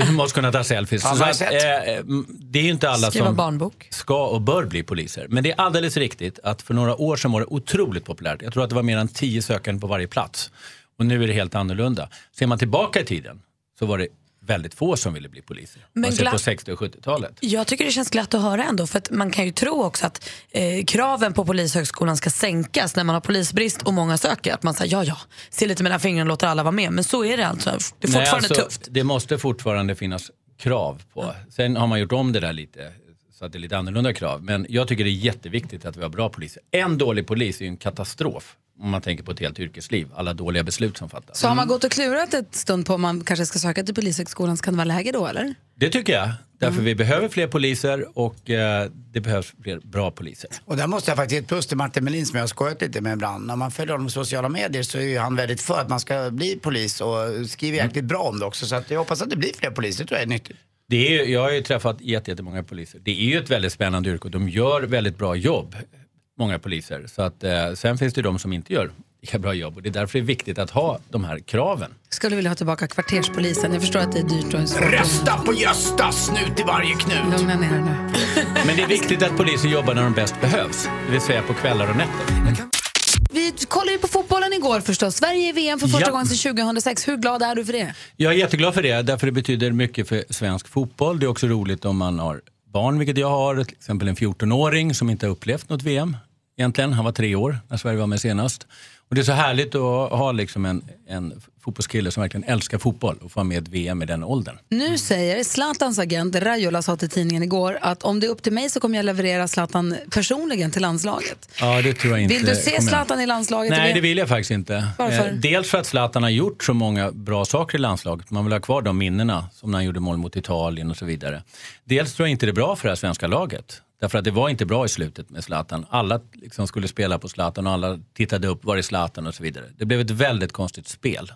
[SPEAKER 16] Du måste kunna ta selfies.
[SPEAKER 4] Ja,
[SPEAKER 16] Så
[SPEAKER 4] har jag
[SPEAKER 16] att,
[SPEAKER 4] sett.
[SPEAKER 16] eh, m- det är ju inte alla
[SPEAKER 6] Skriva
[SPEAKER 16] som
[SPEAKER 6] barnbok.
[SPEAKER 16] ska och bör bli poliser. Men det är alldeles riktigt att för några år sedan var det otroligt populärt. Jag tror att det var mer än tio sökande på varje plats. Och Och nu är det helt annorlunda. Ser man tillbaka i tiden så var det väldigt få som ville bli poliser.
[SPEAKER 6] Men
[SPEAKER 16] Men
[SPEAKER 6] glatt-
[SPEAKER 16] på 60 och 70-talet.
[SPEAKER 6] Jag tycker det känns glatt att höra ändå för att man kan ju tro också att eh, kraven på polishögskolan ska sänkas när man har polisbrist och många söker. Att man säger ja ja, se lite mellan fingrarna och låter alla vara med. Men så är det alltså. Det är fortfarande tufft.
[SPEAKER 16] Det måste fortfarande finnas krav på. Sen har man gjort om det där lite så att det är lite annorlunda krav. Men jag tycker det är jätteviktigt att vi har bra poliser. En dålig polis är ju en katastrof om man tänker på ett helt yrkesliv. Alla dåliga beslut som fattas.
[SPEAKER 2] Så har man gått och klurat ett stund på om man kanske ska söka till Polishögskolan så kan det vara läge då eller?
[SPEAKER 16] Det tycker jag. Därför vi behöver fler poliser och eh, det behövs fler bra poliser.
[SPEAKER 4] Och där måste jag faktiskt ge ett plus till Martin Melin som jag har skojat lite med ibland. När man följer honom på sociala medier så är ju han väldigt för att man ska bli polis och skriver jäkligt bra om det också. Så att jag hoppas att det blir fler poliser, det tror jag är nyttigt.
[SPEAKER 16] Det är, ju- jag har ju träffat jätte- jättemånga poliser. Det är ju ett väldigt spännande yrke och de gör väldigt bra jobb, många poliser. Så att, eh, sen finns det ju de som inte gör lika bra jobb och det är därför det är viktigt att ha de här kraven.
[SPEAKER 2] Skulle vilja ha tillbaka kvarterspolisen. Jag förstår att det är dyrt och svårt.
[SPEAKER 4] Rösta på Gösta, snut i varje knut!
[SPEAKER 2] Lugna ner er nu.
[SPEAKER 16] Men det är viktigt att poliser jobbar när de bäst behövs, det vill säga på kvällar och nätter.
[SPEAKER 2] Vi kollade ju på fotbollen igår förstås. Sverige i VM för första
[SPEAKER 16] Ja.
[SPEAKER 2] gången sedan 2006. Hur glad är du för det?
[SPEAKER 16] Jag är jätteglad för det, därför det betyder mycket för svensk fotboll. Det är också roligt om man har barn, vilket jag har. Till exempel en 14-åring som inte har upplevt något VM egentligen. Han var tre år när Sverige var med senast. Och det är så härligt att ha liksom en, en fotbollskille som verkligen älskar fotboll och få vara med i ett VM i den åldern.
[SPEAKER 2] Nu säger Zlatans agent Raiola sa till tidningen igår att om det är upp till mig så kommer jag leverera Zlatan personligen till landslaget.
[SPEAKER 16] Ja, det tror jag inte
[SPEAKER 2] Vill du se Mm.
[SPEAKER 16] kommer hända.
[SPEAKER 2] Zlatan i landslaget?
[SPEAKER 16] Nej, det vill jag faktiskt inte.
[SPEAKER 2] Varför?
[SPEAKER 16] Eh, Dels för att Zlatan har gjort så många bra saker i landslaget. Man vill ha kvar de minnena, som när han gjorde mål mot Italien och så vidare. Dels tror jag inte det är bra för det här svenska laget. Därför att det var inte bra i slutet med Zlatan. Alla liksom skulle spela på Zlatan och alla tittade upp, var är Zlatan och så vidare. Det blev ett väldigt konstigt spel.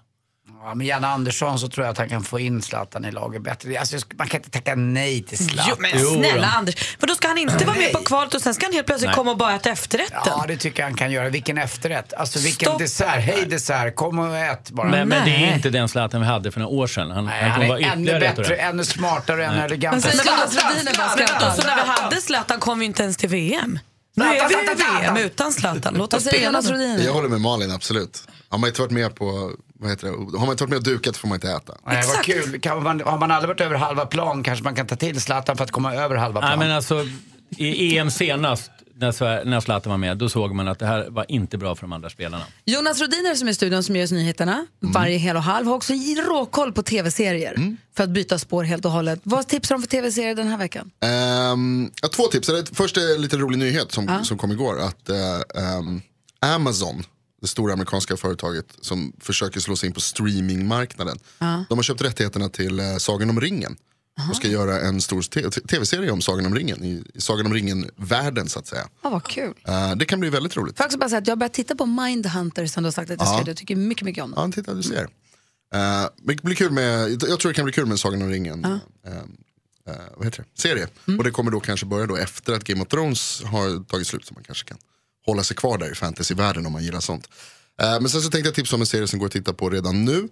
[SPEAKER 4] Ja, med Janne Andersson så tror jag att han kan få in Zlatan i laget bättre. Alltså, jag sk- man kan inte tacka nej till Zlatan.
[SPEAKER 6] Jo, men snälla Anders, för då ska han inte vara med på kvalet och sen ska han helt plötsligt
[SPEAKER 4] Nej.
[SPEAKER 6] komma och bara äta efterrätten.
[SPEAKER 4] Ja, det tycker jag han kan göra. Vilken efterrätt. Alltså vilken
[SPEAKER 6] Stopp.
[SPEAKER 4] dessert. Hej dessert, kom och ät bara.
[SPEAKER 16] Men, men det är inte den Zlatan vi hade för några år sedan. Han,
[SPEAKER 4] Nej, han
[SPEAKER 16] kommer vara
[SPEAKER 4] är ännu
[SPEAKER 16] ytterligare ett år
[SPEAKER 4] bättre,
[SPEAKER 16] äldre.
[SPEAKER 4] ännu smartare, ännu
[SPEAKER 16] Nej.
[SPEAKER 4] elegantare.
[SPEAKER 6] Men
[SPEAKER 4] Zlatan,
[SPEAKER 6] vadå, Zlatan,
[SPEAKER 4] Zlatan,
[SPEAKER 6] Zlatan, så Alltså, när vi
[SPEAKER 4] Zlatan.
[SPEAKER 6] hade Zlatan kom vi inte ens till VM. Nu är
[SPEAKER 4] Zlatan,
[SPEAKER 6] vi i
[SPEAKER 4] Zlatan, Zlatan.
[SPEAKER 6] VM utan Zlatan. Låt oss spela nu.
[SPEAKER 24] Jag håller med Malin, absolut. Har man inte varit med på, vad heter det, har man inte varit med och dukat får man inte äta.
[SPEAKER 4] Nej, vad kul. Kan man, har man aldrig varit över halva plan kanske man kan ta till Zlatan för att komma över halva plan.
[SPEAKER 16] Nej, men alltså, I EM senast, när Sver- när Zlatan var med, då såg man att det här var inte bra för de andra spelarna.
[SPEAKER 2] Jonas Rodiner som är i studion som ger oss nyheterna
[SPEAKER 16] Mm.
[SPEAKER 2] varje hel och halv har också råkoll på tv-serier för att byta spår helt och hållet. Vad tipsar de för tv-serier den här veckan?
[SPEAKER 24] Ehm, ja, två tips. Eller Först är en lite rolig nyhet som,
[SPEAKER 2] Ja.
[SPEAKER 24] som kom igår. Att eh, ehm, Amazon, det stora amerikanska företaget som försöker slå sig in på streamingmarknaden.
[SPEAKER 1] Ja.
[SPEAKER 24] De har köpt rättigheterna till eh, Sagan om ringen. Och ska göra en stor te- te- tv-serie om Sagan om ringen. I, i Sagan om ringen-världen så att säga.
[SPEAKER 2] Ja, vad kul.
[SPEAKER 24] Eh, det kan bli väldigt roligt.
[SPEAKER 2] Får jag också bara säga att jag har börjat titta på Mindhunter som du har sagt att jag ska
[SPEAKER 24] Ja.
[SPEAKER 2] göra. Jag tycker mycket, mycket om den.
[SPEAKER 24] Ja, titta du ser. Eh, men det blir kul med, jag tror det kan bli kul med Sagan om ringen. eh, eh, vad heter det? Serie. Och det kommer då kanske börja då efter att Game of Thrones har tagit slut. Så man kanske kan hålla sig kvar där i fantasyvärlden om man gillar sånt. Eh, men sen så tänkte jag tipsa om en serie som går att titta på redan nu.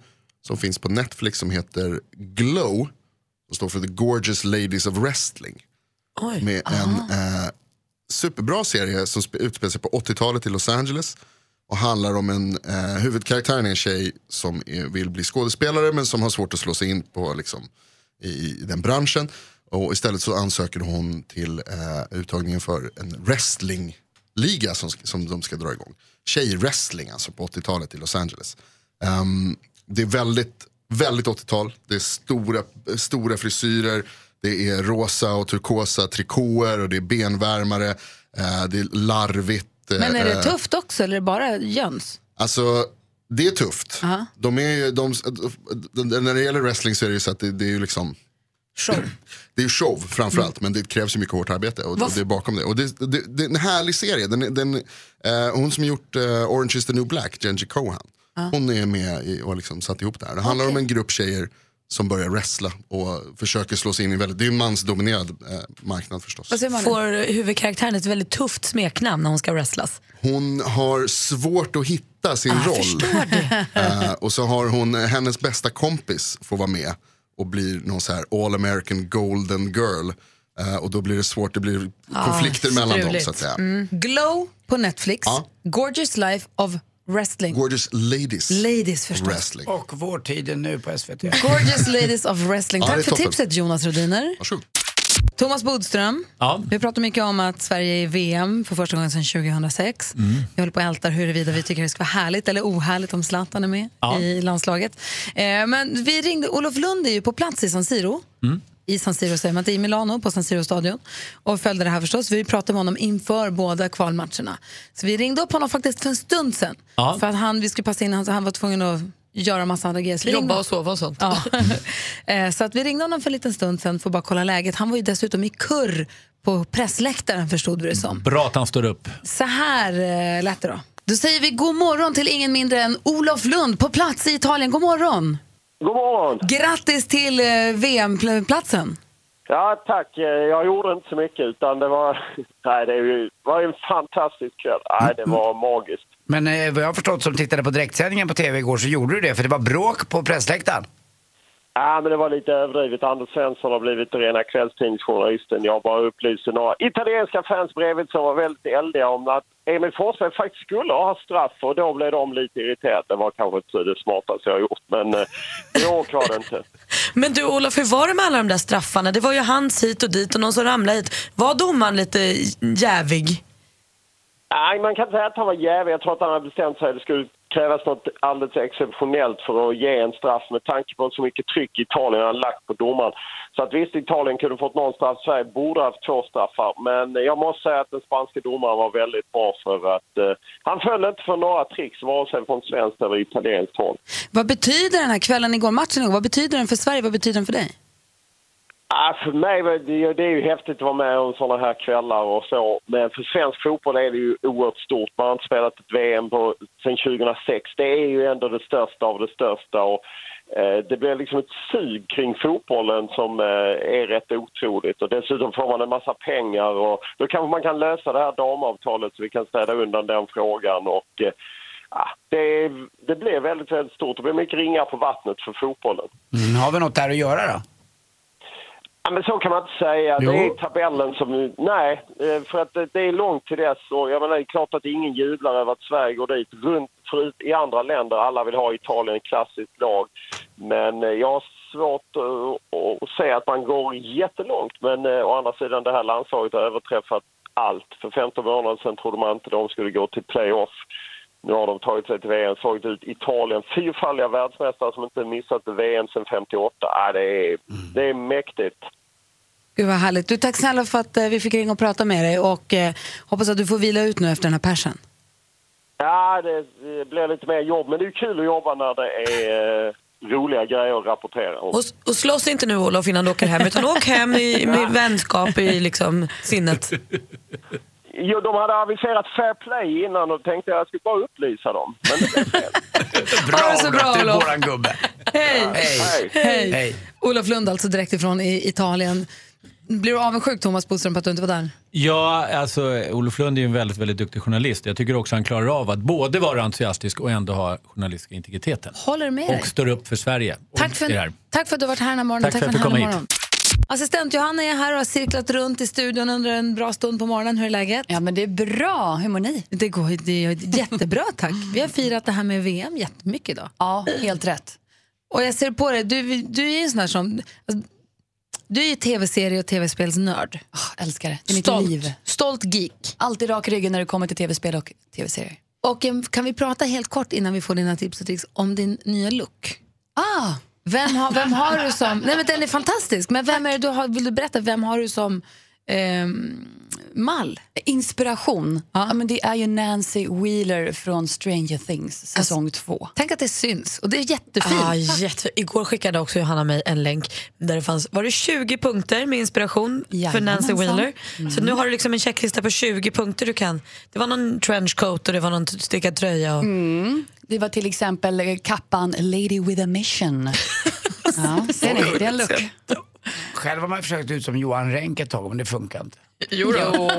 [SPEAKER 24] Som finns på Netflix som heter Glow. Som står för The Gorgeous Ladies of Wrestling. Med en eh, superbra serie som spe- utspelar sig på 80-talet i Los Angeles. Och handlar om en, eh, huvudkaraktären är en tjej som är, vill bli skådespelare men som har svårt att slå sig in på liksom, i, i den branschen. Och istället så ansöker hon till eh, uttagningen för en wrestlingliga som, sk- som de ska dra igång. Tjejwrestling alltså på 80-talet i Los Angeles. Ehm, det är väldigt, väldigt 80-tal. Det är stora, stora frisyrer. Det är rosa och turkosa trikåer och det är benvärmare. Eh, det är larvigt. eh,
[SPEAKER 2] Men är det
[SPEAKER 24] eh,
[SPEAKER 2] tufft också eller är det bara jöns?
[SPEAKER 24] Alltså, det är tufft. De är ju, de, de, när det gäller wrestling så är det ju så att det, det är ju liksom
[SPEAKER 2] Show.
[SPEAKER 24] *clears throat* Det är ju show framförallt, men det krävs ju mycket hårt arbete och, och
[SPEAKER 1] Varför-
[SPEAKER 24] det är bakom det. Och det, det, det är en härlig serie. Den, den, eh, hon som gjort eh, Orange is the new black, Genji Cohan,
[SPEAKER 1] Ja.
[SPEAKER 24] hon är med i, och liksom satt ihop det här. Det handlar om en grupp tjejer som börjar wrestla och försöker slå sig in i en väldigt, det är ju en mansdominerad eh, marknad förstås.
[SPEAKER 6] Får huvudkaraktären ett väldigt tufft smeknamn när hon ska wrestlas?
[SPEAKER 24] Hon har svårt att hitta sin roll. *laughs* Eh, och så har hon, hennes bästa kompis får vara med och blir någon så här all American golden girl. Eh, och då blir det svårt, det blir konflikter mellan dem så att säga.
[SPEAKER 2] Glow på Netflix. Gorgeous Life of Wrestling.
[SPEAKER 24] Gorgeous ladies.
[SPEAKER 2] Ladies förstås.
[SPEAKER 24] Wrestling.
[SPEAKER 4] Och vårtiden nu på SVT.
[SPEAKER 2] Gorgeous Ladies of Wrestling.
[SPEAKER 4] Ja, det är
[SPEAKER 2] Tack för
[SPEAKER 4] toppen.
[SPEAKER 2] tipset Jonas Rhodiner. Thomas Bodström,
[SPEAKER 16] Ja.
[SPEAKER 2] vi pratar mycket om att Sverige är i VM för första gången sedan 2006. Mm. Vi håller på och ältar huruvida vi tycker det ska vara härligt eller ohärligt om Zlatan är med
[SPEAKER 1] Ja.
[SPEAKER 2] i landslaget. Eh, men vi ringde, Olof Lund är ju på plats i San Siro.
[SPEAKER 1] Mm.
[SPEAKER 2] I San Siro säger man inte, i Milano på San Siro-stadion. Och följde det här förstås. Vi pratade med honom inför båda kvalmatcherna. Så vi ringde upp honom faktiskt för en stund sedan.
[SPEAKER 1] Ja.
[SPEAKER 2] För att han, vi skulle passa in hans- han var tvungen att göra massa andra grejer. Så vi
[SPEAKER 6] Jobba
[SPEAKER 2] ringde-
[SPEAKER 6] och sova och sånt.
[SPEAKER 2] Ja. *laughs* Eh, Så att vi ringde honom för en liten stund sen för att bara kolla läget. Han var ju dessutom i kurr på pressläktaren förstod vi det som.
[SPEAKER 16] Bra att han står upp.
[SPEAKER 2] Så här eh, lät det då. Då säger vi god morgon till ingen mindre än Olof Lund på plats i Italien. God morgon!
[SPEAKER 7] God morgon!
[SPEAKER 2] Grattis till eh, VM-platsen!
[SPEAKER 7] Ja, tack. Eh, Jag gjorde inte så mycket utan det var... *laughs* Nej, det är ju- var ju en fantastisk kväll. Nej,
[SPEAKER 24] Mm.
[SPEAKER 7] det var magiskt.
[SPEAKER 4] Men eh, vad jag har förstått som tittade på direktsändningen på TV igår så gjorde du det för det var bråk på pressläktaren.
[SPEAKER 7] Ja, men det var lite överdrivet. Anders Svensson har blivit rena kvällstidningsjournalisten. Jag bara upplyste några italienska fans bredvid som var väldigt eldiga om att Emil Forsberg faktiskt skulle ha straff och då blev de lite irriterade. Det var kanske inte det smartaste jag har gjort, men eh, bråk var det inte.
[SPEAKER 6] Men du Olof, hur var det med alla de där straffarna? Det var ju hans hit och dit och någon som ramlade hit. Var domaren lite jävig?
[SPEAKER 7] Nej, man kan inte säga att han var jävig. Jag tror att han hade bestämt sig att det skulle krävas något alldeles exceptionellt för att ge en straff med tanke på så mycket tryck Italien hade lagt på domaren. Så att visst, Italien kunde fått någon straff. Sverige borde ha haft två straffar. Men jag måste säga att den spanske domaren var väldigt bra för att eh, han föll inte för några tricks vare sig från svenskt eller italienskt håll.
[SPEAKER 2] Vad betyder den här kvällen igår, matchen igår? Vad betyder den för Sverige? Vad betyder den för dig?
[SPEAKER 7] Ah, för mig var det, det är ju häftigt att vara med om sådana här kvällar och så. Men för svensk fotboll är det ju oerhört stort. Man har inte spelat ett VM på, sedan 2006. Det är ju ändå det största av det största. Och, eh, det blir liksom ett sug kring fotbollen som eh, är rätt otroligt. Och dessutom får man en massa pengar. Och då kanske man kan lösa det här damavtalet så vi kan städa undan den frågan. Och, eh, ah, det, det blir väldigt, väldigt stort. Det blir mycket ringar på vattnet för fotbollen.
[SPEAKER 4] Mm, har vi något där att göra då?
[SPEAKER 7] Ja, men så kan man inte säga.
[SPEAKER 4] Jo.
[SPEAKER 7] Det är tabellen som... Nej, eh, för att det det är långt till dess. Och jag menar, det är klart att ingen jublar över att Sverige går dit. Runt förut i andra länder, alla vill ha Italien ett klassiskt lag. Men eh, jag har svårt eh, att se att man går jättelångt. Men eh, å andra sidan, det här landslaget har överträffat allt. För 15 månader sedan trodde man inte de skulle gå till playoff. Nu har de tagit sig till VM, slagit ut Italien. Fyrfaldiga världsmästare som inte missat VM sedan 58. Ah, det, är, det är mäktigt.
[SPEAKER 2] Gud vad härligt. Du, tack snälla för att eh, vi fick ringa och prata med dig och eh, hoppas att du får vila ut nu efter den här persen.
[SPEAKER 7] Ja, det det blir lite mer jobb, men det är kul att jobba när det är eh, roliga grejer att rapportera om.
[SPEAKER 6] Och, och slåss inte nu Olof innan du åker hem, utan åk hem i, med vänskap i liksom, sinnet.
[SPEAKER 7] Jo, de hade aviserat fair play innan och tänkte jag skulle bara upplysa dem. Men det blev fel.
[SPEAKER 2] Ha det så bra,
[SPEAKER 4] Du är
[SPEAKER 2] Olof.
[SPEAKER 4] våran gubbe.
[SPEAKER 2] *laughs* Hej!
[SPEAKER 4] Hej.
[SPEAKER 2] Hej.
[SPEAKER 4] Hej.
[SPEAKER 2] Olof Lund alltså direkt ifrån i Italien. Blir du avundsjuk Thomas Bodström på att du inte var där?
[SPEAKER 16] Ja, alltså Olof Lund är ju en väldigt, väldigt duktig journalist. Jag tycker också han klarar av att både vara entusiastisk och ändå ha journalistiska integriteten.
[SPEAKER 2] Håller med dig.
[SPEAKER 16] Och står upp för Sverige. och
[SPEAKER 2] Tack för,
[SPEAKER 16] det här.
[SPEAKER 2] tack för att du har varit här den här morgonen.
[SPEAKER 16] Tack för att
[SPEAKER 2] en
[SPEAKER 16] jag fick
[SPEAKER 2] härlig
[SPEAKER 16] komma hit.
[SPEAKER 2] Assistent Johanna är här och har cirklat runt i studion under en bra stund på morgonen. Hur är läget?
[SPEAKER 1] Ja, men det är bra. Hur mår ni?
[SPEAKER 2] Det går det är jättebra, tack. Vi har firat det här med VM jättemycket idag.
[SPEAKER 1] Ja, helt rätt.
[SPEAKER 2] Och jag ser på dig, du, du är ju en sån här som... Alltså, du är ju tv-serie och tv-spelsnörd.
[SPEAKER 1] Ah, älskar det. Det är mitt
[SPEAKER 2] Stolt.
[SPEAKER 1] liv.
[SPEAKER 2] Stolt geek.
[SPEAKER 1] Alltid rak i ryggen när det kommer till tv-spel och tv-serier.
[SPEAKER 2] Och em, kan vi prata helt kort innan vi får dina tips och tricks om din nya look?
[SPEAKER 1] Ah!
[SPEAKER 2] Vem har, vem har du som... Nej men den är fantastisk. Men vem är det du har, vill du berätta, vem har du som ehm, mall?
[SPEAKER 1] Inspiration. Ja. men det är ju Nancy Wheeler från Stranger Things, säsong två.
[SPEAKER 2] Alltså, Tänk att det syns. Och det är jättefint.
[SPEAKER 6] Ah, jättefint. Igår skickade också Johanna mig en länk där det fanns var det 20 punkter med inspiration för Nancy
[SPEAKER 1] Jajamensan.
[SPEAKER 6] Wheeler. Så
[SPEAKER 1] Mm.
[SPEAKER 6] nu har du liksom en checklista på 20 punkter du kan. Det var någon trenchcoat och det var någon stickad tröja. Och...
[SPEAKER 1] Mm. Det var till exempel eh, kappan Lady with a *laughs* mission. ja, ser ni? Det är en look.
[SPEAKER 4] Själv har man försökt ut som Johan Renck ett tag men det funkar inte.
[SPEAKER 1] Jo då.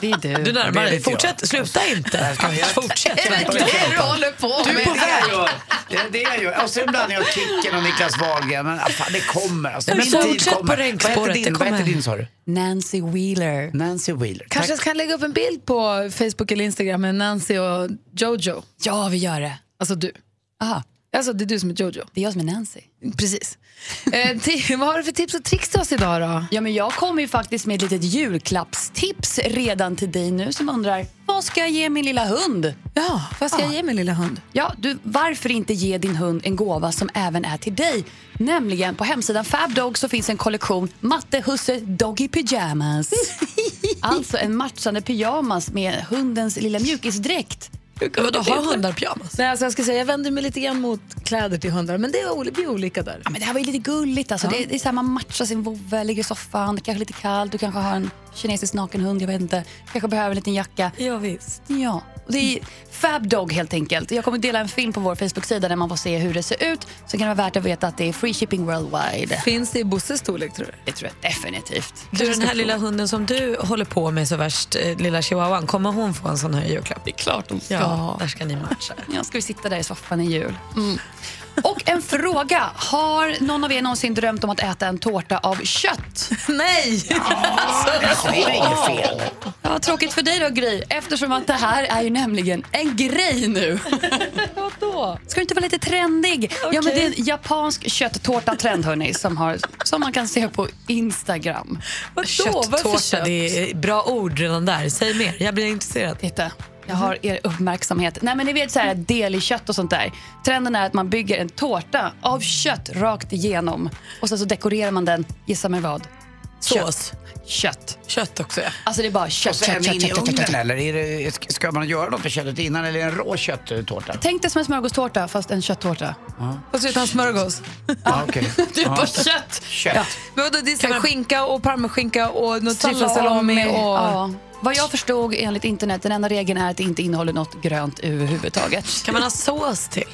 [SPEAKER 1] det är du.
[SPEAKER 6] Du närmar
[SPEAKER 4] Det
[SPEAKER 6] dig.
[SPEAKER 4] vet jag.
[SPEAKER 6] Fortsätt, sluta inte.
[SPEAKER 4] jag.
[SPEAKER 6] Fortsätt.
[SPEAKER 4] Är det det du håller
[SPEAKER 2] på
[SPEAKER 6] Du är
[SPEAKER 2] med?
[SPEAKER 6] på väg.
[SPEAKER 4] Det är det jag gör. Och så är det en blandning av Kicken och Niklas Wahlgren. Men ah, fan, det kommer. Alltså,
[SPEAKER 1] Men
[SPEAKER 4] min tid
[SPEAKER 1] fortsätt på
[SPEAKER 4] kommer.
[SPEAKER 1] räkspåret,
[SPEAKER 4] Vad heter
[SPEAKER 1] det
[SPEAKER 4] din, vad heter
[SPEAKER 1] kommer.
[SPEAKER 4] din sa du?
[SPEAKER 1] Nancy Wheeler.
[SPEAKER 4] Nancy Wheeler.
[SPEAKER 2] Kanske kan lägga upp en bild på Facebook eller Instagram med Nancy och Jojo.
[SPEAKER 1] Ja, vi gör det.
[SPEAKER 2] Alltså du.
[SPEAKER 1] Aha.
[SPEAKER 2] Alltså det är du som är Jojo.
[SPEAKER 1] Det är jag som är Nancy.
[SPEAKER 2] Precis. eh, ti- *laughs* vad har du för tips och tricks till oss idag då?
[SPEAKER 1] Ja, men jag kommer ju faktiskt med ett litet julklappstips redan till dig nu som undrar vad ska jag ge min lilla hund?
[SPEAKER 2] Ja, vad ska jag ge min lilla hund?
[SPEAKER 1] Ja, du, varför inte ge din hund en gåva som även är till dig? Nämligen på hemsidan FabDog så finns en kollektion Matte Husse Doggy Pyjamas. alltså en matchande pyjamas med hundens lilla mjukisdräkt.
[SPEAKER 2] Vadå, har hundar pyjamas? Nej, alltså jag ska säga, jag vänder mig lite grann mot kläder till hundar, men det är oli- blir olika där.
[SPEAKER 1] Ja, men det här var ju lite gulligt. Alltså. Det, det är så här, man matchar sin vovve, ligger i soffan, det kanske är lite kallt, du kanske har en kinesisk nakenhund, jag vet inte. kanske behöver en liten jacka.
[SPEAKER 2] Ja, visst.
[SPEAKER 1] Ja. Och det är Fabdog helt enkelt. Jag kommer dela en film på vår Facebook-sida där man får se hur det ser ut. Så kan det vara värt att veta att det är free shipping worldwide.
[SPEAKER 2] Finns det i Bosses storlek tror du?
[SPEAKER 1] Det tror jag definitivt.
[SPEAKER 6] Du, den här lilla hunden som du håller på med så värst, eh, lilla chihuahuan, kommer hon få en sån här julklapp? Det är klart hon
[SPEAKER 1] ska.
[SPEAKER 6] Ja, där ska ni *laughs* matcha.
[SPEAKER 1] Ja, ska vi sitta där i soffan i jul. Mm. Och en fråga. Har någon av er någonsin drömt om att äta en tårta av kött?
[SPEAKER 2] Nej!
[SPEAKER 1] alltså,
[SPEAKER 4] det är inget fel.
[SPEAKER 1] Ja, tråkigt för dig då, Gry, eftersom att det här är ju nämligen en grej nu. *laughs* Vadå? Ska du inte vara lite trendig? Ja, men det är en japansk kötttårta-trend, hörni, som, har, som man kan se på Instagram.
[SPEAKER 6] Kötttårta, det är bra ord redan där. Säg mer, jag blir intresserad.
[SPEAKER 1] Titta. Jag har er uppmärksamhet. Nej men ni vet så här delikött och sånt där. Trenden är att man bygger en tårta av kött rakt igenom. Och sen så dekorerar man den, gissa med vad?
[SPEAKER 6] Sås.
[SPEAKER 1] Kött.
[SPEAKER 6] Kött också ja.
[SPEAKER 1] Alltså det är bara
[SPEAKER 4] Och
[SPEAKER 1] kött,
[SPEAKER 4] så är
[SPEAKER 1] kött,
[SPEAKER 4] den
[SPEAKER 1] kött,
[SPEAKER 4] inne i
[SPEAKER 1] kött, kött, kött,
[SPEAKER 4] ugnen
[SPEAKER 1] kött.
[SPEAKER 4] eller? Är det, ska man göra något med köttet innan eller är det en rå kötttårta?
[SPEAKER 1] Tänk dig som en smörgåstårta fast en kötttårta.
[SPEAKER 4] Ja,
[SPEAKER 2] Fast utan smörgås.
[SPEAKER 4] ah,
[SPEAKER 1] *laughs*
[SPEAKER 4] okej.
[SPEAKER 1] Det är
[SPEAKER 4] Ja.
[SPEAKER 1] bara kött.
[SPEAKER 4] Kött.
[SPEAKER 1] Ja.
[SPEAKER 2] Men vadå, det är så här, skinka och parmaskinka och något
[SPEAKER 1] Salami
[SPEAKER 2] tryffelsalami och...
[SPEAKER 1] Ja. Vad jag förstod enligt internet, den enda regeln är att det inte innehåller något grönt överhuvudtaget.
[SPEAKER 6] Kan man ha sås till?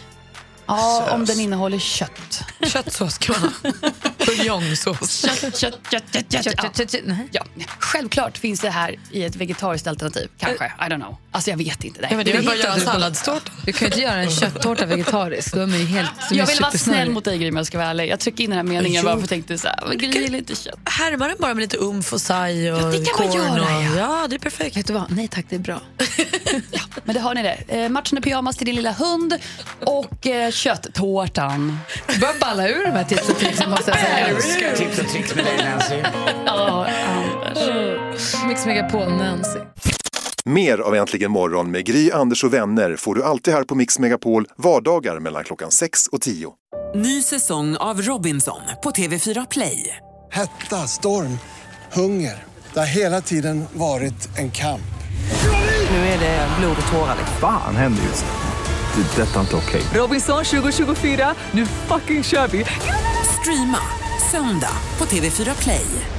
[SPEAKER 1] Ja, om den innehåller kött.
[SPEAKER 6] Köttsås kan man ha. *laughs* Buljongsås.
[SPEAKER 1] Kött, kött, kött, kött, kött.
[SPEAKER 2] Kött, kött, kött. Nej.
[SPEAKER 1] Ja. Självklart finns det här i ett vegetariskt alternativ. Kanske. I don't know. Alltså jag vet inte. Nej.
[SPEAKER 6] Eh. Ja, men det är väl bara att göra en
[SPEAKER 1] hittar du på.
[SPEAKER 6] salladstårta.
[SPEAKER 2] Du kan ju inte göra en kötttårta vegetariskt. Då är man ju helt då är man
[SPEAKER 1] Jag vill vara
[SPEAKER 2] supersnurrig.
[SPEAKER 1] snäll mot dig Gry, om jag ska vara ärlig. Jag tryckte in den här meningen
[SPEAKER 6] Jo.
[SPEAKER 1] bara för att tänkte så här, men Gry gillar inte kött.
[SPEAKER 6] Härma den bara med lite umf och saj och
[SPEAKER 1] Ja, det kan man
[SPEAKER 6] korn
[SPEAKER 1] göra,
[SPEAKER 6] och-
[SPEAKER 1] ja.
[SPEAKER 6] ja, det är perfekt.
[SPEAKER 2] Vet du vad? Nej tack, det är bra.
[SPEAKER 1] Men det har ni det. Eh, matchande pyjamas till din lilla hund och eh, kötttårtan.
[SPEAKER 2] Du börjar balla ur de här tips och tricks måste
[SPEAKER 1] *laughs*
[SPEAKER 2] jag
[SPEAKER 4] Jag
[SPEAKER 2] säga.
[SPEAKER 4] älskar tips och tricks med dig Nancy.
[SPEAKER 1] Ja,
[SPEAKER 2] Mix Megapol, Nancy.
[SPEAKER 8] Mer av Äntligen morgon med Gry, Anders och vänner får du alltid här på Mix Megapol vardagar mellan klockan 6 och 10.
[SPEAKER 9] Ny säsong av Robinson på TV4 Play.
[SPEAKER 25] Hetta, storm, hunger. Det har hela tiden varit en kamp.
[SPEAKER 9] Nu är det blod och tårar. liksom.
[SPEAKER 16] Fan händer just nu. Det. är Detta är inte okej.
[SPEAKER 9] Robinson 2024, nu fucking kör vi! Streama söndag på TV4 Play.